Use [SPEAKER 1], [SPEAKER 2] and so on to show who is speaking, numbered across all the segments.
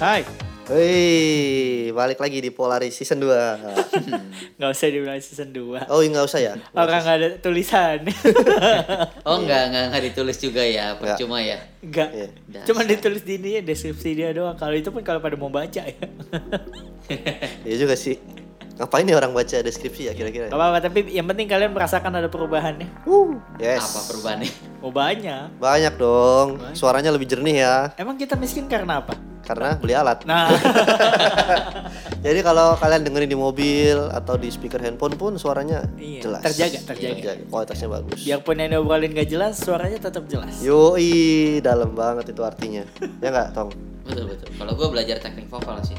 [SPEAKER 1] Hai,
[SPEAKER 2] Hei, balik lagi di Polaris season 2.
[SPEAKER 1] nggak usah diulang season 2
[SPEAKER 2] Oh, nggak usah ya?
[SPEAKER 1] Orang nggak ada tulisan,
[SPEAKER 3] Oh enggak, enggak, enggak ditulis juga ya,
[SPEAKER 2] Enggak.
[SPEAKER 3] percuma ya.
[SPEAKER 1] nggak.
[SPEAKER 2] Iya.
[SPEAKER 1] Cuman ditulis di ini ya, deskripsi dia doang. Kalau itu pun kalau pada mau baca ya.
[SPEAKER 2] Iya juga sih. Ngapain nih orang baca deskripsi ya kira-kira?
[SPEAKER 1] Gak apa-apa, tapi yang penting kalian merasakan ada perubahannya.
[SPEAKER 2] Wuh, yes.
[SPEAKER 3] Apa perubahannya?
[SPEAKER 1] Oh banyak.
[SPEAKER 2] Banyak dong. Suaranya lebih jernih ya,
[SPEAKER 1] Emang kita miskin karena apa?
[SPEAKER 2] karena beli alat.
[SPEAKER 1] Nah,
[SPEAKER 2] Jadi kalau kalian dengerin di mobil atau di speaker handphone pun suaranya
[SPEAKER 1] Iya,
[SPEAKER 2] jelas.
[SPEAKER 1] terjaga, terjaga.
[SPEAKER 2] Kualitasnya bagus.
[SPEAKER 1] biarpun yang diobrolin gak jelas, suaranya tetap jelas.
[SPEAKER 2] Yoi, dalam banget itu artinya. ya nggak, Tong?
[SPEAKER 3] Betul betul. Kalau gue belajar teknik vokal sih.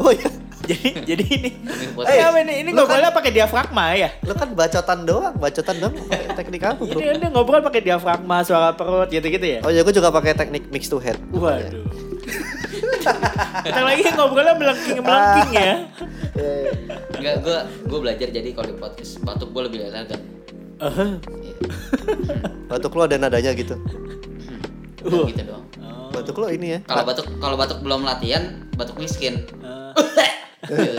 [SPEAKER 2] Oh iya.
[SPEAKER 1] jadi jadi ini.
[SPEAKER 3] Teknik buat
[SPEAKER 1] Eh, apa ini ini
[SPEAKER 2] lu kan-
[SPEAKER 1] ngobrolnya pakai diafragma ya.
[SPEAKER 2] Lo kan bacotan doang, bacotan doang pakai teknik apa, Bro?
[SPEAKER 1] Ini udah ngobrol pakai diafragma, suara perut gitu-gitu ya.
[SPEAKER 2] Oh iya, gue juga pakai teknik mix to head.
[SPEAKER 1] Waduh. Kita lagi ngobrolnya melengking-melengking ya.
[SPEAKER 2] Eh,
[SPEAKER 3] Enggak, gue gue belajar jadi kalau di podcast batuk gue lebih
[SPEAKER 1] Eh,
[SPEAKER 3] elegan. Iya.
[SPEAKER 2] batuk lo ada nadanya gitu.
[SPEAKER 3] Udah gitu doang.
[SPEAKER 2] Batuk lo ini ya.
[SPEAKER 3] Kalau batuk kalau batuk belum latihan, batuk miskin.
[SPEAKER 1] eh,
[SPEAKER 2] Eh,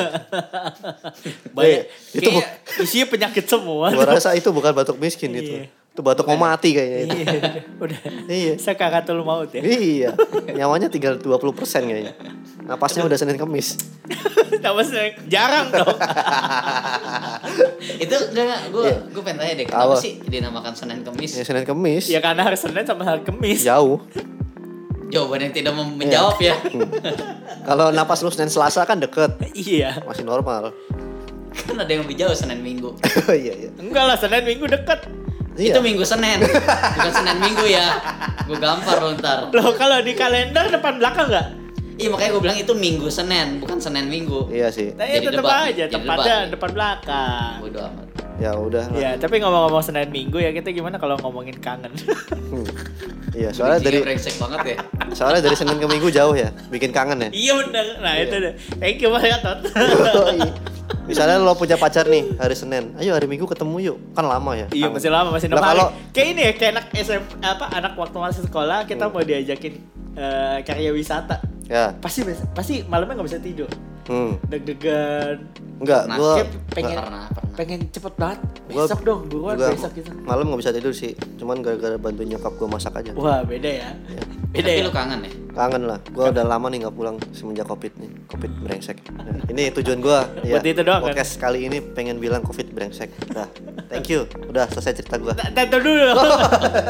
[SPEAKER 1] Banyak.
[SPEAKER 2] itu
[SPEAKER 1] Eh, itu isinya penyakit semua.
[SPEAKER 2] Gua rasa itu bukan batuk miskin
[SPEAKER 1] Iya.
[SPEAKER 2] itu. Itu batuk mau mati kayaknya itu.
[SPEAKER 1] Iya, udah.
[SPEAKER 2] Iya.
[SPEAKER 1] Sakaratul maut ya.
[SPEAKER 2] Iya. Nyawanya tinggal 20% kayaknya. Napasnya udah Senin Kamis.
[SPEAKER 1] Tambah snack. jarang dong.
[SPEAKER 3] Itu enggak enggak gue
[SPEAKER 2] Iya.
[SPEAKER 3] gue pengen tanya deh kenapa
[SPEAKER 2] Apa?
[SPEAKER 3] sih dinamakan Senin
[SPEAKER 2] Ya
[SPEAKER 3] Kemis?
[SPEAKER 2] Senin Kamis.
[SPEAKER 1] Ya karena hari Senin sama hari Kamis.
[SPEAKER 2] Jauh.
[SPEAKER 3] Jawaban yang tidak
[SPEAKER 2] Iya.
[SPEAKER 3] mem- menjawab ya.
[SPEAKER 2] Hmm. Kalau napas lu Senin Selasa kan deket.
[SPEAKER 1] Iya.
[SPEAKER 2] Masih normal.
[SPEAKER 3] Kan ada yang lebih jauh Senin Minggu.
[SPEAKER 2] iya, iya.
[SPEAKER 1] Enggak lah, Senin Minggu deket.
[SPEAKER 2] Iya.
[SPEAKER 3] Itu Minggu Senin. Bukan Senin Minggu ya. Gue gampar lo ntar.
[SPEAKER 1] Loh, kalau di kalender depan belakang enggak?
[SPEAKER 3] Iya makanya gue bilang itu Minggu Senin, bukan Senin Minggu.
[SPEAKER 2] Iya sih.
[SPEAKER 1] Tapi
[SPEAKER 3] Jadi
[SPEAKER 1] tetap
[SPEAKER 3] debat,
[SPEAKER 1] aja,
[SPEAKER 3] jadi
[SPEAKER 1] tempatnya
[SPEAKER 3] debat.
[SPEAKER 1] depan Oh, belakang.
[SPEAKER 3] Bodo amat.
[SPEAKER 2] Ya udah. lah.
[SPEAKER 1] Ya, tapi ngomong-ngomong Senin Minggu ya kita gimana kalau ngomongin kangen?
[SPEAKER 2] Hmm. Iya, soalnya dari
[SPEAKER 3] Bridging-nya brengsek banget ya.
[SPEAKER 2] soalnya dari Senin ke Minggu jauh ya. Bikin kangen ya.
[SPEAKER 1] iya bener. Nah, itu deh. Thank you banget, Tot.
[SPEAKER 2] Yoi. Misalnya lo punya pacar nih hari Senin, ayo hari Minggu ketemu yuk, kan lama ya.
[SPEAKER 1] Iya
[SPEAKER 2] Kangen.
[SPEAKER 1] masih lama masih
[SPEAKER 2] Lah
[SPEAKER 1] enam hari.
[SPEAKER 2] kalau
[SPEAKER 1] Kayak ini ya kayak anak SM apa anak waktu masih sekolah
[SPEAKER 2] Hmm.
[SPEAKER 1] kita mau diajakin eh, karya wisata.
[SPEAKER 2] ya,
[SPEAKER 1] Pasti pasti malamnya nggak bisa tidur.
[SPEAKER 2] hmm,
[SPEAKER 1] Deg-degan.
[SPEAKER 2] enggak,
[SPEAKER 3] Nah,
[SPEAKER 2] gua
[SPEAKER 1] kayak pengen
[SPEAKER 3] Pernah, pernah.
[SPEAKER 1] pengen cepet banget.
[SPEAKER 2] Oh. Gua
[SPEAKER 1] Besok dong buruan
[SPEAKER 2] juga
[SPEAKER 1] besok gitu. kita.
[SPEAKER 2] malam nggak bisa tidur sih, cuman gara-gara bantuin nyokap gua masak aja.
[SPEAKER 1] Wah beda ya.
[SPEAKER 2] Iya.
[SPEAKER 1] Beda
[SPEAKER 3] Tapi
[SPEAKER 1] ya.
[SPEAKER 3] lu kangen ya?
[SPEAKER 2] Kangen lah, gua udah lama nih nggak pulang semenjak covid nih, covid brengsek. Nah, ini tujuan gua. ya,
[SPEAKER 1] Buat itu doang, kan?
[SPEAKER 2] podcast kali ini pengen bilang covid brengsek. Udah, thank you, udah selesai cerita gua.
[SPEAKER 1] T- Tentu dulu.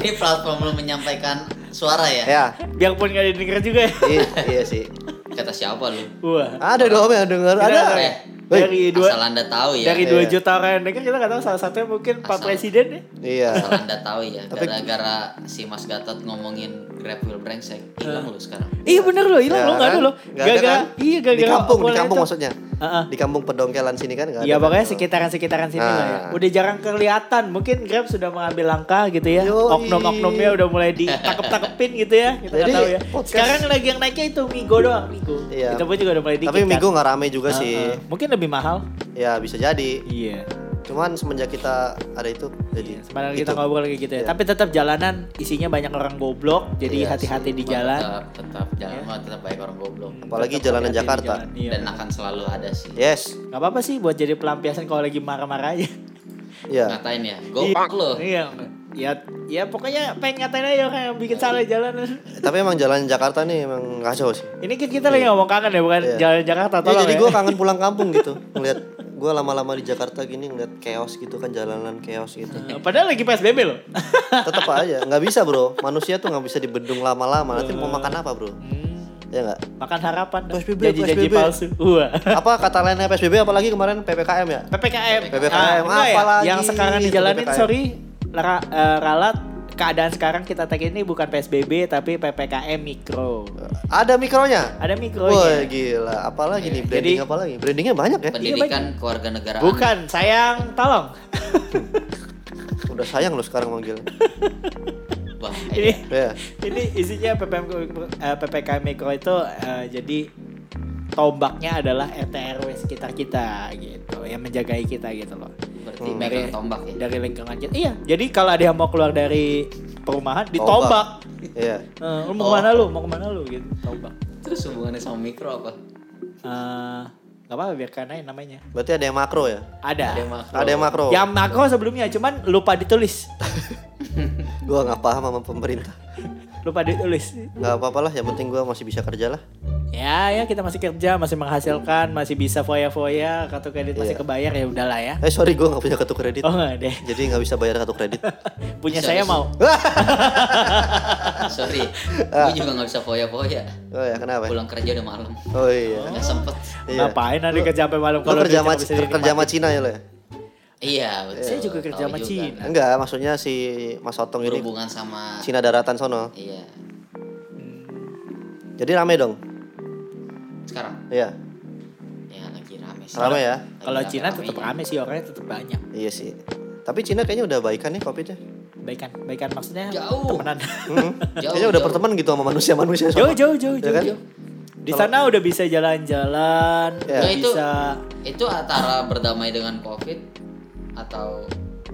[SPEAKER 3] Ini platform lu menyampaikan suara ya?
[SPEAKER 2] Ya,
[SPEAKER 1] Biarpun gak didengar juga ya.
[SPEAKER 2] iya, iya sih.
[SPEAKER 3] Kata siapa lu?
[SPEAKER 1] Wah.
[SPEAKER 2] Ada dong yang denger,
[SPEAKER 1] Kita-
[SPEAKER 2] ada.
[SPEAKER 3] Ya.
[SPEAKER 2] Woi.
[SPEAKER 1] Dari
[SPEAKER 3] Asal
[SPEAKER 1] dua
[SPEAKER 3] anda tahu ya.
[SPEAKER 1] dari dua
[SPEAKER 2] Iya.
[SPEAKER 1] juta orang yang denger kita nggak tahu salah satunya mungkin Pak
[SPEAKER 3] Asal.
[SPEAKER 1] Presiden ya.
[SPEAKER 2] Iya.
[SPEAKER 3] Asal anda tahu ya.
[SPEAKER 2] Tapi-
[SPEAKER 3] Gara-gara si Mas Gatot ngomongin Grab Wheel Brengsek, hilang lu sekarang.
[SPEAKER 1] Iya bener loh, hilang
[SPEAKER 2] Ya
[SPEAKER 1] loh, nggak ada
[SPEAKER 2] kan?
[SPEAKER 1] loh.
[SPEAKER 2] Nggak ada
[SPEAKER 1] Gara-gara-
[SPEAKER 2] kan?
[SPEAKER 1] Iya, gara-gara
[SPEAKER 2] Di kampung, di
[SPEAKER 1] obrolan
[SPEAKER 2] kampung
[SPEAKER 1] itu.
[SPEAKER 2] maksudnya.
[SPEAKER 1] Heeh.
[SPEAKER 2] Di kampung pedongkelan sini kan nggak ada.
[SPEAKER 1] Iya pokoknya
[SPEAKER 2] kan?
[SPEAKER 1] sekitaran-sekitaran sini lah ya.
[SPEAKER 2] Nah.
[SPEAKER 1] Udah jarang kelihatan. Mungkin Grab sudah mengambil langkah gitu ya.
[SPEAKER 2] Yoi.
[SPEAKER 1] Oknum-oknumnya udah mulai ditangkep-tangkepin gitu ya. Kita nggak
[SPEAKER 2] Jadi,
[SPEAKER 1] tahu ya.
[SPEAKER 2] podcast-
[SPEAKER 1] Sekarang lagi yang naiknya itu Migo doang, Migo.
[SPEAKER 2] Iya.
[SPEAKER 1] Kita pun juga udah mulai dikit
[SPEAKER 2] Tapi
[SPEAKER 1] kan.
[SPEAKER 2] minggu nggak rame juga
[SPEAKER 1] Heeh.
[SPEAKER 2] sih.
[SPEAKER 1] Mungkin lebih mahal.
[SPEAKER 2] Ya bisa jadi.
[SPEAKER 1] Iya.
[SPEAKER 2] Cuman semenjak kita ada itu jadi.
[SPEAKER 1] Sebenarnya
[SPEAKER 2] Iya. itu.
[SPEAKER 1] kita ngobrol kayak gitu ya.
[SPEAKER 2] Iya.
[SPEAKER 1] Tapi tetap jalanan isinya banyak orang goblok. Jadi
[SPEAKER 2] Iya
[SPEAKER 1] hati-hati di jalan.
[SPEAKER 3] Tetap, tetap jalan mah tetap baik orang goblok.
[SPEAKER 2] Apalagi
[SPEAKER 1] Tetap hati-hati
[SPEAKER 2] jalanan
[SPEAKER 1] di
[SPEAKER 2] Jakarta.
[SPEAKER 1] jalan. Iya.
[SPEAKER 3] Dan akan selalu ada sih.
[SPEAKER 2] Yes.
[SPEAKER 1] Gak apa-apa sih buat jadi pelampiasan kalau lagi marah-marah aja. Nah.
[SPEAKER 2] Ya.
[SPEAKER 3] Ngatain ya, gopak lu.
[SPEAKER 1] Iya. Ya, ya pokoknya pengen ngatain aja orang yang bikin salah di jalanan.
[SPEAKER 2] Tapi emang jalan Jakarta nih emang kacau sih.
[SPEAKER 1] Ini kan kita lagi ngomong kangen ya, bukan
[SPEAKER 2] Iya.
[SPEAKER 1] jalan Jakarta
[SPEAKER 2] Ya,
[SPEAKER 1] tolong
[SPEAKER 2] jadi
[SPEAKER 1] ya.
[SPEAKER 2] gue kangen pulang kampung gitu. Ngeliat gue lama-lama di Jakarta gini ngeliat chaos gitu kan jalanan chaos gitu.
[SPEAKER 1] Padahal lagi PSBB loh.
[SPEAKER 2] Tetap aja nggak bisa bro. Manusia tuh nggak bisa dibendung lama-lama. Nanti mau makan apa bro? Ya nggak.
[SPEAKER 1] Makan harapan. dong.
[SPEAKER 2] PSBB,
[SPEAKER 1] Janji-janji
[SPEAKER 2] PSBB.
[SPEAKER 1] palsu. Wah.
[SPEAKER 2] Apa kata lainnya PSBB apalagi kemarin PPKM ya?
[SPEAKER 1] PPKM.
[SPEAKER 2] PPKM,
[SPEAKER 1] enggak ya?
[SPEAKER 2] apalagi
[SPEAKER 1] Yang sekarang
[SPEAKER 2] itu
[SPEAKER 1] dijalanin,
[SPEAKER 2] PPKM.
[SPEAKER 1] sorry, ra- eh, ralat keadaan sekarang kita tag ini bukan PSBB tapi PPKM mikro.
[SPEAKER 2] Ada mikronya.
[SPEAKER 1] Ada mikronya.
[SPEAKER 2] Wah gila, apalagi nih branding
[SPEAKER 1] Jadi-
[SPEAKER 2] apalagi? Brandingnya banyak ya.
[SPEAKER 3] Pendidikan keluarga negara.
[SPEAKER 1] Iya, Bukan, sayang, tolong.
[SPEAKER 2] Udah sayang lo sekarang manggilnya.
[SPEAKER 3] Wah,
[SPEAKER 1] Ini
[SPEAKER 3] eh,
[SPEAKER 2] Ya.
[SPEAKER 1] ini isinya PPKM eh, PPKM mikro itu eh, jadi tombaknya adalah E RT RW sekitar kita gitu yang menjagai kita gitu loh.
[SPEAKER 3] berarti megang tombak ya.
[SPEAKER 1] dari lingkungan kita. Iya. Jadi kalau ada yang mau keluar dari perumahan ditombak.
[SPEAKER 2] Iya.
[SPEAKER 3] Oh.
[SPEAKER 1] Eh, lu mau kemana lu? Mau kemana lu gitu, tombak.
[SPEAKER 3] Terus hubungannya sama mikro apa?
[SPEAKER 1] Eh, nggak apa-apa biarkan aja namanya.
[SPEAKER 2] Berarti ada yang makro ya?
[SPEAKER 1] Ah. Ada.
[SPEAKER 3] Ada yang makro.
[SPEAKER 2] Ada yang makro.
[SPEAKER 1] Yang makro sebelumnya cuman lupa ditulis.
[SPEAKER 2] Gua nggak paham sama pemerintah.
[SPEAKER 1] lupa ditulis.
[SPEAKER 2] Nggak apa-apa lah, yang penting gua masih bisa kerja lah.
[SPEAKER 1] Ya ya kita masih kerja, masih menghasilkan, masih bisa foya-foya, kartu kredit masih
[SPEAKER 2] Iya.
[SPEAKER 1] kebayar ya udahlah ya.
[SPEAKER 2] Eh sorry, gua nggak punya kartu kredit.
[SPEAKER 1] Oh nggak deh.
[SPEAKER 2] Jadi nggak bisa bayar kartu kredit.
[SPEAKER 1] Punya
[SPEAKER 3] Bisa,
[SPEAKER 1] saya
[SPEAKER 3] bisa.
[SPEAKER 1] mau.
[SPEAKER 3] Ah, Sorry,
[SPEAKER 1] Ah.
[SPEAKER 3] gue juga nggak bisa foya-foya.
[SPEAKER 2] Oh ya kenapa?
[SPEAKER 3] Pulang kerja udah malam.
[SPEAKER 2] Oh iya.
[SPEAKER 3] Nggak sempet.
[SPEAKER 2] Iya.
[SPEAKER 1] Ngapain nanti
[SPEAKER 2] Lu-
[SPEAKER 1] kerja sampai malam
[SPEAKER 2] Lo
[SPEAKER 1] kalau duitnya
[SPEAKER 2] kerja sama
[SPEAKER 1] nggak bisa
[SPEAKER 2] kerja
[SPEAKER 1] dinikmatin?
[SPEAKER 2] sama Cina ya lo ya?
[SPEAKER 3] Iya, betul.
[SPEAKER 1] Saya juga kerja
[SPEAKER 3] Tahu
[SPEAKER 1] sama
[SPEAKER 3] juga.
[SPEAKER 1] Cina.
[SPEAKER 2] Enggak, maksudnya si Mas Otong ini
[SPEAKER 3] Berhubungan sama
[SPEAKER 2] Cina daratan sono.
[SPEAKER 3] Iya.
[SPEAKER 2] Jadi rame dong.
[SPEAKER 3] Sekarang
[SPEAKER 2] Iya.
[SPEAKER 3] ya lagi rame sih.
[SPEAKER 2] Rame ya?
[SPEAKER 3] Lagi
[SPEAKER 1] Kalau Cina
[SPEAKER 3] rame-ramenya.
[SPEAKER 1] tetap rame sih orangnya tetap banyak.
[SPEAKER 2] Iya sih. Tapi Cina kayaknya udah baikan nih Covid-nya.
[SPEAKER 1] Baikan, baikan maksudnya
[SPEAKER 3] Jauh.
[SPEAKER 1] temenan.
[SPEAKER 2] Hmm.
[SPEAKER 3] Jauh,
[SPEAKER 2] kayaknya udah
[SPEAKER 3] jauh.
[SPEAKER 2] berteman gitu sama manusia-manusia sono.
[SPEAKER 1] jauh, jauh, jauh,
[SPEAKER 2] Iya
[SPEAKER 1] jauh.
[SPEAKER 2] kan?
[SPEAKER 1] jauh. Di sana udah bisa jalan-jalan, udah
[SPEAKER 2] Ya.
[SPEAKER 3] Ya, itu-
[SPEAKER 1] bisa
[SPEAKER 3] Itu antara berdamai dengan Covid atau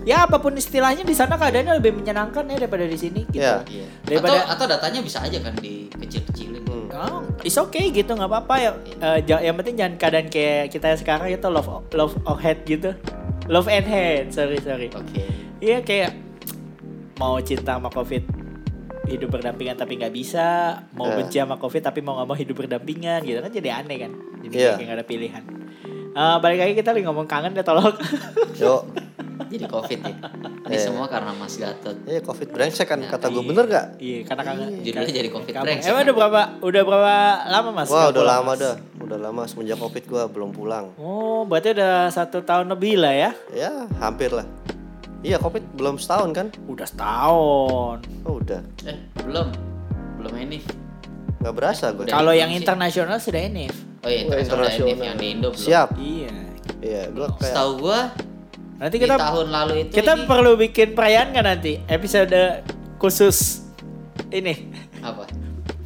[SPEAKER 1] ya apapun istilahnya di sana keadaannya lebih menyenangkan ya daripada di sini gitu.
[SPEAKER 2] Iya.
[SPEAKER 3] iya.
[SPEAKER 1] Daripada-
[SPEAKER 3] atau atau datanya bisa aja kan dikecil-kecilin.
[SPEAKER 2] Hmm.
[SPEAKER 1] Oh, it's okay gitu nggak apa-apa ya. Eh, ja- yang penting jangan keadaan kayak kita sekarang itu love love or hate gitu. Love and hate, sorry sorry.
[SPEAKER 3] Oke.
[SPEAKER 1] Iya kayak mau cinta sama covid hidup berdampingan tapi nggak bisa, mau
[SPEAKER 2] Eh.
[SPEAKER 1] benci sama covid tapi mau nggak mau hidup berdampingan gitu kan jadi aneh kan. Jadi
[SPEAKER 2] Iya.
[SPEAKER 1] kayak nggak ada pilihan. Eh, balik lagi kita lagi ngomong kangen deh tolong.
[SPEAKER 2] Yo.
[SPEAKER 3] Jadi Covid ya. Ini
[SPEAKER 2] Iya.
[SPEAKER 3] semua karena Mas Gatot.
[SPEAKER 2] Eh Covid brengsek kan kata gue
[SPEAKER 1] Iya.
[SPEAKER 2] bener gak?
[SPEAKER 1] Iya, karena kangen.
[SPEAKER 3] Judulnya jadi Covid
[SPEAKER 1] Kangen.
[SPEAKER 3] brengsek.
[SPEAKER 1] Emang udah berapa udah berapa lama Mas?
[SPEAKER 2] Wah
[SPEAKER 1] Nggak
[SPEAKER 2] udah
[SPEAKER 1] pulang,
[SPEAKER 2] lama
[SPEAKER 1] Mas?
[SPEAKER 2] dah. Udah lama semenjak Covid gua belum pulang.
[SPEAKER 1] Oh, berarti udah satu tahun lebih lah ya?
[SPEAKER 2] Ya hampir lah. Iya Covid belum setahun kan?
[SPEAKER 1] Udah setahun.
[SPEAKER 2] Oh udah.
[SPEAKER 3] Eh, belum. Belum ini.
[SPEAKER 2] Nggak berasa gue.
[SPEAKER 3] Udah.
[SPEAKER 1] Kalau yang
[SPEAKER 3] Indonesia.
[SPEAKER 1] internasional sudah enif.
[SPEAKER 3] Oh iya,
[SPEAKER 2] Wah,
[SPEAKER 3] internasional,
[SPEAKER 2] internasional.
[SPEAKER 3] Enif yang di Indo belum.
[SPEAKER 2] Siap.
[SPEAKER 1] Iya.
[SPEAKER 2] Iya gue kayak.
[SPEAKER 3] Setahu gua
[SPEAKER 1] Nanti
[SPEAKER 3] di
[SPEAKER 1] kita
[SPEAKER 3] tahun lalu itu
[SPEAKER 1] kita
[SPEAKER 3] ini
[SPEAKER 1] perlu bikin perayaan nggak nanti episode khusus ini
[SPEAKER 3] apa?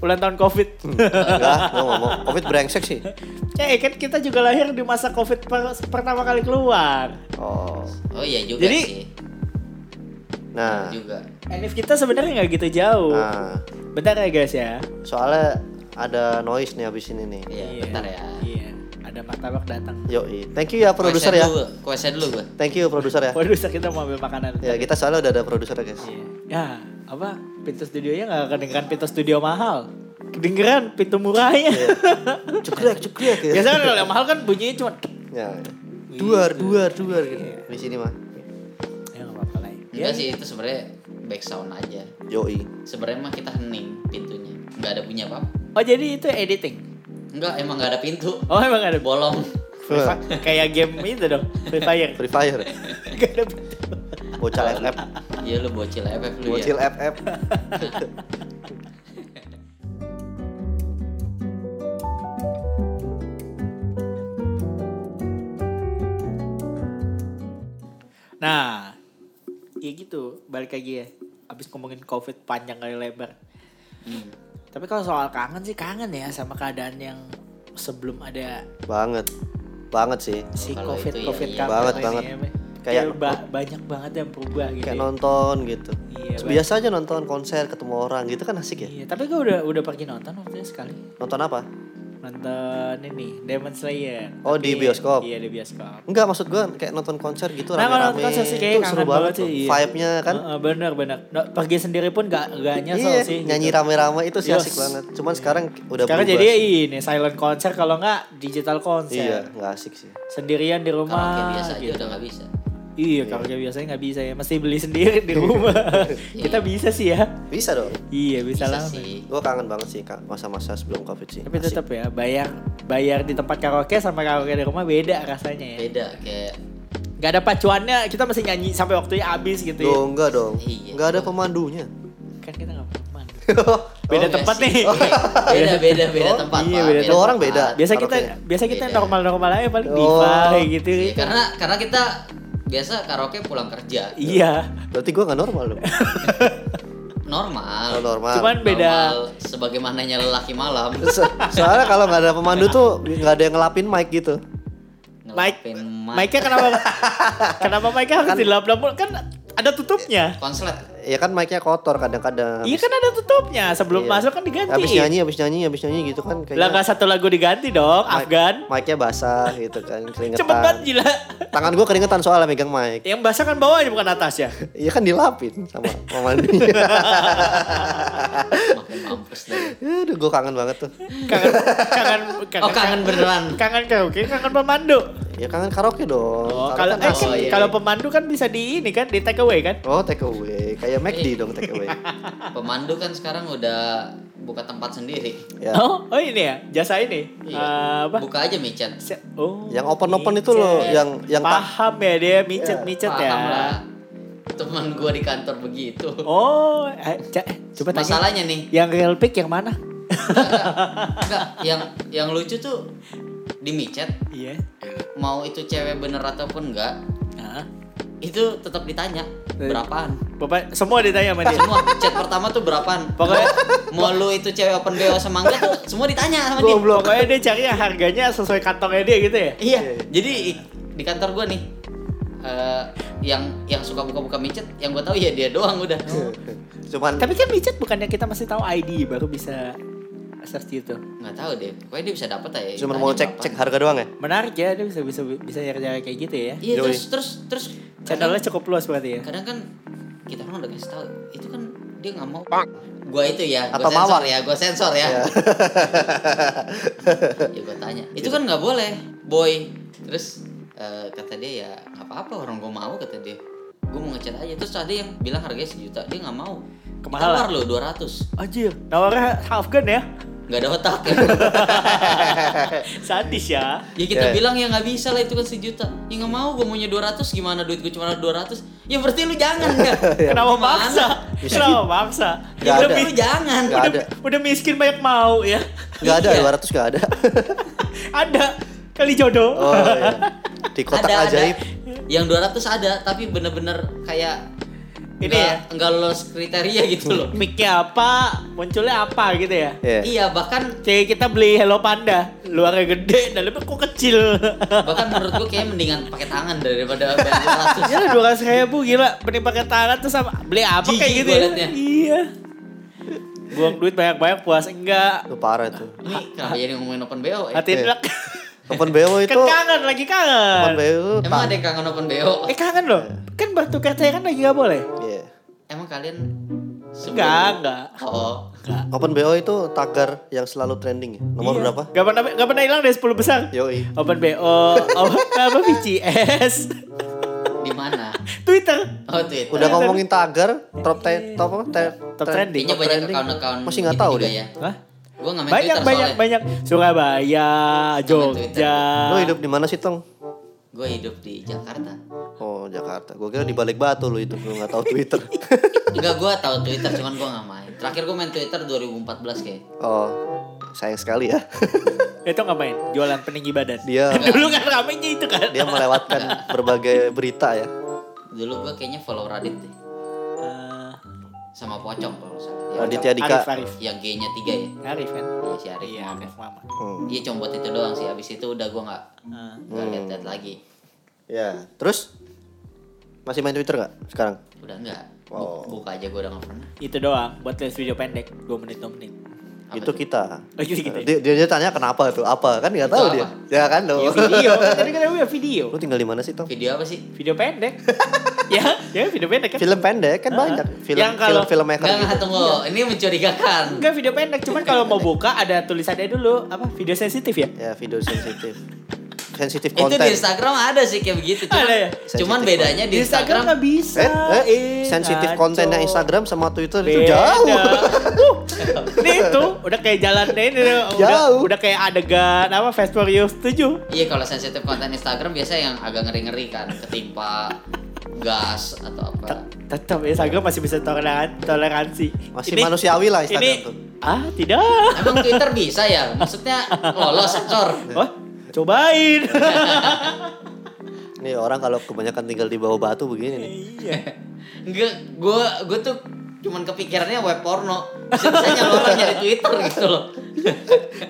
[SPEAKER 1] ulang tahun covid.
[SPEAKER 2] Enggak, gue ngomong Covid brengsek sih.
[SPEAKER 3] Hmm.
[SPEAKER 1] Eh kan kita juga lahir di masa covid per- pertama kali keluar.
[SPEAKER 2] Oh.
[SPEAKER 3] Oh iya juga
[SPEAKER 1] Jadi-
[SPEAKER 3] sih.
[SPEAKER 2] Nah.
[SPEAKER 3] Juga.
[SPEAKER 1] Enif kita sebenarnya nggak gitu jauh.
[SPEAKER 3] Ah.
[SPEAKER 2] Nah.
[SPEAKER 1] Bentar ya guys ya.
[SPEAKER 2] Soalnya ada noise nih habis ini nih.
[SPEAKER 3] Iya, bentar ya.
[SPEAKER 1] Iya. Ada martabak datang.
[SPEAKER 2] Yoi. Thank you ya produser
[SPEAKER 3] Kuesnya
[SPEAKER 2] ya.
[SPEAKER 3] dulu, Kuesnya dulu gua.
[SPEAKER 2] Thank you produser ya.
[SPEAKER 1] Waduh, kita mau ambil makanan.
[SPEAKER 2] Ya
[SPEAKER 3] Iya.
[SPEAKER 2] kita soalnya udah ada produser ya guys.
[SPEAKER 1] Iya. Ya, apa? Pintu studionya nggak kedengeran pintu studio mahal. Kedengeran pintu murahnya.
[SPEAKER 3] Iya.
[SPEAKER 2] Cekrek cekrek ya.
[SPEAKER 1] Biasanya kalau yang mahal kan bunyinya cuma
[SPEAKER 2] Ya. Duar duar duar gitu. Di sini mah.
[SPEAKER 1] ya nggak apa-apa lah. Ya,
[SPEAKER 3] Enggak sih itu sebenarnya back sound aja.
[SPEAKER 2] Yoi.
[SPEAKER 3] Sebenarnya mah kita hening pintunya. Enggak ada bunyi apa.
[SPEAKER 1] Oh jadi itu editing.
[SPEAKER 3] Enggak, emang enggak ada pintu.
[SPEAKER 1] Oh emang ada bo-
[SPEAKER 3] Bolong.
[SPEAKER 1] Free Fi- kayak game itu dong Free Fire.
[SPEAKER 2] Free Fire.
[SPEAKER 1] Gak ada pintu.
[SPEAKER 2] Bocah FF.
[SPEAKER 3] Iya lu bocil FF lu ya.
[SPEAKER 2] Bocil FF.
[SPEAKER 1] Nah, ya gitu balik lagi ya. Abis ngomongin covid panjang kali lebar.
[SPEAKER 3] Hmm.
[SPEAKER 1] Tapi kalau soal kangen sih kangen ya sama keadaan yang sebelum ada
[SPEAKER 2] Banget. Banget sih.
[SPEAKER 1] si
[SPEAKER 3] Kalau
[SPEAKER 1] covid
[SPEAKER 3] itu ya,
[SPEAKER 1] covid
[SPEAKER 3] iya.
[SPEAKER 1] kangen
[SPEAKER 2] Banget,
[SPEAKER 1] ini
[SPEAKER 2] banget.
[SPEAKER 1] ya, Be. Kayak
[SPEAKER 2] Kayak-
[SPEAKER 1] ba- banyak banget yang berubah gitu.
[SPEAKER 2] Kayak
[SPEAKER 1] ya.
[SPEAKER 2] nonton gitu.
[SPEAKER 1] Iya,
[SPEAKER 2] Biasa aja nonton konser ketemu orang gitu kan asik ya.
[SPEAKER 1] Iya, tapi gue udah udah pergi nonton waktu itu sekali.
[SPEAKER 2] Nonton apa?
[SPEAKER 1] Nonton ini Demon Slayer.
[SPEAKER 2] Oh, di bioskop?
[SPEAKER 1] Iya di bioskop.
[SPEAKER 2] Enggak maksud gua kayak nonton konser gitu
[SPEAKER 1] Nah, kalau
[SPEAKER 2] rame-rame.
[SPEAKER 1] nonton sih kayaknya
[SPEAKER 2] Itu seru
[SPEAKER 1] kangen banget
[SPEAKER 2] banget tuh.
[SPEAKER 1] sih. iya.
[SPEAKER 2] Vibe-nya kan.
[SPEAKER 1] Heeh, bener bener. No, pergi sendiri pun gak gak nyesel
[SPEAKER 2] Iya,
[SPEAKER 1] sih.
[SPEAKER 2] nyanyi
[SPEAKER 1] gitu.
[SPEAKER 2] rame-rame itu sih
[SPEAKER 1] Yes.
[SPEAKER 2] asik banget. Cuman sekarang udah
[SPEAKER 1] Sekarang
[SPEAKER 2] berubah
[SPEAKER 1] jadi
[SPEAKER 2] sih.
[SPEAKER 1] ini silent konser kalau nggak digital
[SPEAKER 2] Iya,
[SPEAKER 1] konser.
[SPEAKER 2] nggak asik sih.
[SPEAKER 1] Sendirian di
[SPEAKER 3] Karaoke
[SPEAKER 1] rumah.
[SPEAKER 3] biasa aja
[SPEAKER 1] gitu.
[SPEAKER 3] udah enggak bisa.
[SPEAKER 1] Iya, karaoke biasanya nggak bisa ya. Mesti beli sendiri di rumah. Kita bisa sih ya.
[SPEAKER 2] Bisa dong.
[SPEAKER 1] Iya, bisa,
[SPEAKER 3] Bisa
[SPEAKER 1] lah.
[SPEAKER 3] sih.
[SPEAKER 2] Gue kangen banget sih Kak, masa-masa sebelum Covid sih.
[SPEAKER 1] Tapi
[SPEAKER 2] Asik.
[SPEAKER 1] tetap ya, bayar bayar di tempat karaoke sama karaoke di rumah beda rasanya ya.
[SPEAKER 3] Beda kayak
[SPEAKER 1] Gak ada pacuannya, kita masih nyanyi sampai waktunya habis gitu ya.
[SPEAKER 2] Duh, enggak dong.
[SPEAKER 3] Iya.
[SPEAKER 2] Enggak ada pemandunya.
[SPEAKER 1] Kan kita gak paham.
[SPEAKER 2] Beda
[SPEAKER 1] Beda
[SPEAKER 3] Oh,
[SPEAKER 1] tempat
[SPEAKER 3] iya
[SPEAKER 1] nih.
[SPEAKER 3] sih. Beda beda beda
[SPEAKER 1] Oh,
[SPEAKER 3] tempat.
[SPEAKER 1] iya,
[SPEAKER 3] Pak.
[SPEAKER 1] beda
[SPEAKER 2] tempat. Orang beda.
[SPEAKER 1] Biasa kita
[SPEAKER 2] Karaoke.
[SPEAKER 1] biasa kita
[SPEAKER 3] Beda.
[SPEAKER 1] normal-normal aja paling
[SPEAKER 2] Oh.
[SPEAKER 1] diva kayak gitu.
[SPEAKER 3] Iya, karena karena kita biasa karaoke pulang kerja.
[SPEAKER 1] Iya.
[SPEAKER 2] Berarti gue nggak normal dong. Nggak
[SPEAKER 3] Normal.
[SPEAKER 2] normal.
[SPEAKER 1] Ah. Cuman Oh, Kan beda
[SPEAKER 3] Normal sebagaimananya lelaki malam.
[SPEAKER 2] So- soalnya kalau nggak ada pemandu tuh nggak ada yang ngelapin mic gitu.
[SPEAKER 1] Mike
[SPEAKER 3] Ngelapin mic.
[SPEAKER 1] Mike kenapa kenapa Mike harus dilap-lap mulu? kan ada tutupnya.
[SPEAKER 3] konslet.
[SPEAKER 2] ya kan mic-nya kotor kadang-kadang.
[SPEAKER 1] Iya kan ada tutupnya. Sebelum
[SPEAKER 2] Iya.
[SPEAKER 1] masuk kan diganti.
[SPEAKER 2] Habis nyanyi, habis nyanyi, habis nyanyi gitu kan
[SPEAKER 1] Lah nggak satu lagu diganti dong,
[SPEAKER 2] mic-
[SPEAKER 1] Afgan.
[SPEAKER 2] mic-nya basah gitu kan, keringetan.
[SPEAKER 1] Cepet banget gila.
[SPEAKER 2] Tangan gua keringetan soalnya megang mic.
[SPEAKER 1] Yang basah kan bawahnya bukan atas ya.
[SPEAKER 2] Iya kan dilapin sama mamanya.
[SPEAKER 3] Makin mampus deh.
[SPEAKER 2] Aduh, gua kangen banget tuh.
[SPEAKER 1] Kangen kangen kangen,
[SPEAKER 3] Oh kangen beneran.
[SPEAKER 1] kangen karaoke, kangen pemandu.
[SPEAKER 2] Ya kangen karaoke dong.
[SPEAKER 1] Oh,
[SPEAKER 2] Karaoke
[SPEAKER 1] kalau
[SPEAKER 2] kan
[SPEAKER 1] eh,
[SPEAKER 2] asik.
[SPEAKER 1] kan,
[SPEAKER 3] iya.
[SPEAKER 1] kalau pemandu kan bisa di ini kan di take away kan?
[SPEAKER 2] Oh, take away. Kayak McD
[SPEAKER 3] Eh.
[SPEAKER 2] dong take away.
[SPEAKER 3] Pemandu kan sekarang udah buka tempat sendiri.
[SPEAKER 2] Ya.
[SPEAKER 1] Oh, oh ini ya, jasa ini.
[SPEAKER 3] Iya.
[SPEAKER 1] Eh, apa?
[SPEAKER 3] Buka aja micet.
[SPEAKER 1] Se- Oh,
[SPEAKER 2] Yang open-open itu loh,
[SPEAKER 1] micet.
[SPEAKER 2] yang- yang tak- Iya.
[SPEAKER 1] paham ya dia micet-micet
[SPEAKER 3] Paham
[SPEAKER 1] ya.
[SPEAKER 3] lah. Teman gua di kantor begitu.
[SPEAKER 1] Oh, eh, ca- coba tanya.
[SPEAKER 3] Masalahnya nih,
[SPEAKER 1] Yang real pick yang mana?
[SPEAKER 3] enggak yang yang lucu tuh di micet
[SPEAKER 1] Iya.
[SPEAKER 3] mau itu cewek bener ataupun enggak
[SPEAKER 1] Nah,
[SPEAKER 3] itu tetap ditanya
[SPEAKER 1] Eh.
[SPEAKER 3] berapaan
[SPEAKER 1] Bapak semua ditanya sama dia.
[SPEAKER 3] semua chat pertama tuh berapaan
[SPEAKER 1] Iya. Pokoknya-
[SPEAKER 3] mau lu itu cewek open BO sama enggak tuh semua ditanya sama dia
[SPEAKER 1] Goblok. Pokoknya dia carinya harganya sesuai kantongnya dia gitu ya.
[SPEAKER 3] iya jadi i- di kantor gua nih eh, yang yang suka buka-buka micet yang gua tahu ya dia doang udah
[SPEAKER 2] Iya. Cuman
[SPEAKER 1] Tapi kan micet bukannya kita masih tahu ID baru bisa search itu.
[SPEAKER 3] nggak tahu deh pokoknya dia bisa ya, dapat aja
[SPEAKER 2] cuman
[SPEAKER 3] Tanya
[SPEAKER 2] mau cek
[SPEAKER 3] berapaan.
[SPEAKER 2] cek harga doang ya?
[SPEAKER 1] Menarik ya, dia bisa bisa bisa nyari-nyari kayak gitu ya.
[SPEAKER 3] iya
[SPEAKER 2] Yoi.
[SPEAKER 3] terus terus terus
[SPEAKER 1] Channelnya cukup luas berarti ya.
[SPEAKER 3] kadang kan kita orang udah kasih tahu itu kan dia nggak mau gua itu ya gua
[SPEAKER 2] Atau
[SPEAKER 3] sensor
[SPEAKER 2] mawar. Iya.
[SPEAKER 3] ya gua sensor ya ya gua tanya itu kan nggak boleh boy terus eh, kata dia ya nggak apa-apa orang gua mau kata dia gua mau ngecat aja terus ada yang bilang harganya sejuta dia nggak mau
[SPEAKER 1] Kemahalan.
[SPEAKER 3] Ditawar loh 200
[SPEAKER 1] Anjir, nawarnya Afgan ya.
[SPEAKER 3] nggak ada otak ya,
[SPEAKER 2] Iya.
[SPEAKER 3] Iya.
[SPEAKER 1] Sadis ya.
[SPEAKER 3] Ya kita
[SPEAKER 2] Ya.
[SPEAKER 3] bilang ya nggak bisa lah itu kan sejuta ya nggak mau gua maunya 200 gimana duit gua cuma ada 200 ya berarti lu jangan ya
[SPEAKER 2] Iya.
[SPEAKER 1] Kenapa
[SPEAKER 3] Gimana?
[SPEAKER 1] maksa?
[SPEAKER 2] Bisa
[SPEAKER 1] Kenapa maksa?
[SPEAKER 2] Iya. Nggak
[SPEAKER 1] udah,
[SPEAKER 2] ada.
[SPEAKER 3] lu
[SPEAKER 1] mi-
[SPEAKER 3] jangan
[SPEAKER 2] Nggak
[SPEAKER 1] udah,
[SPEAKER 2] ada.
[SPEAKER 1] udah miskin banyak mau ya.
[SPEAKER 2] Gak ada,
[SPEAKER 3] Iya.
[SPEAKER 2] 200 gak ada.
[SPEAKER 1] ada kali jodoh.
[SPEAKER 2] Oh iya. Di kotak
[SPEAKER 3] ada,
[SPEAKER 2] ajaib.
[SPEAKER 3] Ada. Yang 200 ada, tapi bener-bener kayak
[SPEAKER 1] Ini ya?
[SPEAKER 3] nggak- nggak lolos kriteria gitu loh.
[SPEAKER 1] Mic-nya apa, munculnya apa gitu ya.
[SPEAKER 2] Iya.
[SPEAKER 3] Iya, bahkan
[SPEAKER 1] Kayak kita beli Hello Panda, luarnya gede, dalamnya kok kecil.
[SPEAKER 3] bahkan menurut gua kayak mendingan pakai tangan daripada bayar 200.
[SPEAKER 1] ya dua ratus ribu gila, beli pakai tangan terus sama beli apa kayak
[SPEAKER 3] Jijik
[SPEAKER 1] gitu
[SPEAKER 3] gua
[SPEAKER 1] ya?
[SPEAKER 3] liatnya.
[SPEAKER 1] Iya. Buang duit banyak-banyak puas enggak.
[SPEAKER 2] Lu parah itu.
[SPEAKER 3] Ini kenapa jadi ngomongin open BO? ya?
[SPEAKER 1] Hati
[SPEAKER 2] Iya.
[SPEAKER 1] lek.
[SPEAKER 2] Open BO itu
[SPEAKER 1] Kan kangen lagi
[SPEAKER 2] Open
[SPEAKER 1] kangen.
[SPEAKER 2] BO itu
[SPEAKER 3] Emang
[SPEAKER 2] tak-
[SPEAKER 3] ada yang kangen open BO?
[SPEAKER 1] Eh kangen loh. Kan bertukar saya kan lagi nggak boleh.
[SPEAKER 2] Iya.
[SPEAKER 3] Emang kalian sebelum-
[SPEAKER 1] Enggak, enggak.
[SPEAKER 3] Oh,
[SPEAKER 2] Open BO itu tagar yang selalu trending ya. Nomor
[SPEAKER 1] Iya.
[SPEAKER 2] berapa?
[SPEAKER 1] Gak pernah gak pernah hilang dari 10 besar.
[SPEAKER 2] Yoi.
[SPEAKER 1] Open BO, apa, apa BCS,
[SPEAKER 3] di mana?
[SPEAKER 1] Twitter.
[SPEAKER 3] Oh, Twitter.
[SPEAKER 2] Udah ngomongin tagar, top te, top apa? Te,
[SPEAKER 1] iya, Top trending.
[SPEAKER 3] Kayaknya banyak
[SPEAKER 2] trending.
[SPEAKER 3] account-account
[SPEAKER 2] Masih nggak
[SPEAKER 3] gitu
[SPEAKER 2] tahu
[SPEAKER 3] juga
[SPEAKER 2] deh.
[SPEAKER 3] ya.
[SPEAKER 1] Hah?
[SPEAKER 3] Gua nggak main
[SPEAKER 1] Banyak
[SPEAKER 3] Twitter
[SPEAKER 1] banyak
[SPEAKER 3] soalnya.
[SPEAKER 1] banyak. Surabaya, Jogja.
[SPEAKER 2] Lu hidup di mana sih, Tong?
[SPEAKER 3] Gua hidup di Jakarta.
[SPEAKER 2] Oh, Jakarta. Gua kira di balik batu lu itu. Gua nggak tahu Twitter.
[SPEAKER 3] Enggak, gua tahu Twitter, cuman gua nggak main. Terakhir gua main Twitter 2014 kayak.
[SPEAKER 2] oh. Sayang sekali ya.
[SPEAKER 1] Itu ngapain? Jualan peninggi badan.
[SPEAKER 2] Dia
[SPEAKER 1] Dulu kan ramenya itu kan.
[SPEAKER 2] dia melewatkan berbagai berita ya.
[SPEAKER 1] Oh.
[SPEAKER 3] Dulu gua kayaknya follow Radit deh.
[SPEAKER 1] Eh,
[SPEAKER 3] Sama Pocong kalau nggak salah. Ya,
[SPEAKER 2] Raditya Dika.
[SPEAKER 1] Arif, Arif.
[SPEAKER 3] Yang G-nya 3 ya.
[SPEAKER 1] Arif kan?
[SPEAKER 3] Iya si Arif.
[SPEAKER 1] Iya, Arif Mama.
[SPEAKER 2] Hmm.
[SPEAKER 3] Iya cuma buat itu doang sih. Abis itu udah gua nggak
[SPEAKER 1] Eh,
[SPEAKER 3] nggak lihat-lihat lagi.
[SPEAKER 2] Ya, terus masih main Twitter nggak sekarang?
[SPEAKER 3] Udah nggak. Bu-
[SPEAKER 2] Oh.
[SPEAKER 3] Buka aja gua udah nggak pernah.
[SPEAKER 1] itu doang buat les video pendek 2 menit 2 menit.
[SPEAKER 3] Apa
[SPEAKER 2] itu
[SPEAKER 3] tuh?
[SPEAKER 2] kita.
[SPEAKER 1] Oh, gitu, gitu.
[SPEAKER 2] Dia, dia, dia tanya kenapa tuh apa kan nggak
[SPEAKER 3] Itu
[SPEAKER 2] tahu
[SPEAKER 3] apa?
[SPEAKER 2] dia. Ya kan lo.
[SPEAKER 1] Ya video, Iya. kan tadi kan ada video.
[SPEAKER 2] Lu tinggal di mana sih Tom?
[SPEAKER 3] Video apa sih?
[SPEAKER 1] Video pendek. ya, ya video pendek kan.
[SPEAKER 2] Film pendek kan banyak. Film
[SPEAKER 1] Yang kalau-
[SPEAKER 2] film filmmaker
[SPEAKER 3] Enggak,
[SPEAKER 1] Kan
[SPEAKER 2] gitu.
[SPEAKER 3] enggak, tunggu.
[SPEAKER 1] Iya.
[SPEAKER 3] Ini mencurigakan.
[SPEAKER 1] Enggak video pendek, cuman kalau mau buka ada tulisannya dulu apa video sensitif ya.
[SPEAKER 2] Ya video sensitif. sensitif
[SPEAKER 3] Itu
[SPEAKER 2] konten. Eh,
[SPEAKER 3] di Instagram ada sih kayak begitu. Cuman,
[SPEAKER 1] Ada ya?
[SPEAKER 3] cuman
[SPEAKER 2] Sensitif
[SPEAKER 3] bedanya
[SPEAKER 1] Di Instagram kan- nggak bisa.
[SPEAKER 2] Eh, eh, sensitif
[SPEAKER 1] kacau.
[SPEAKER 2] kontennya Instagram sama Twitter itu
[SPEAKER 1] Beda.
[SPEAKER 2] jauh.
[SPEAKER 1] Uh, ini itu udah kayak jalan deh, ini udah,
[SPEAKER 2] Jauh.
[SPEAKER 1] udah kayak adegan apa Fast for You 7.
[SPEAKER 3] Iya kalau sensitif konten Instagram biasanya yang agak ngeri-ngeri kan ketimpa gas atau apa.
[SPEAKER 1] Tetap Instagram masih bisa toleran- toleransi.
[SPEAKER 2] Masih manusiawi lah Instagram
[SPEAKER 1] ini,
[SPEAKER 2] tuh.
[SPEAKER 1] Ah, tidak.
[SPEAKER 3] Emang Twitter bisa ya? Maksudnya lolos skor.
[SPEAKER 2] Eh.
[SPEAKER 1] Wah, Oh, cobain.
[SPEAKER 2] Nih orang kalau kebanyakan tinggal di bawah batu begini nih.
[SPEAKER 1] iya.
[SPEAKER 3] Enggak, gue gue tuh cuman kepikirannya web porno. Biasanya lolos nyari Twitter gitu loh.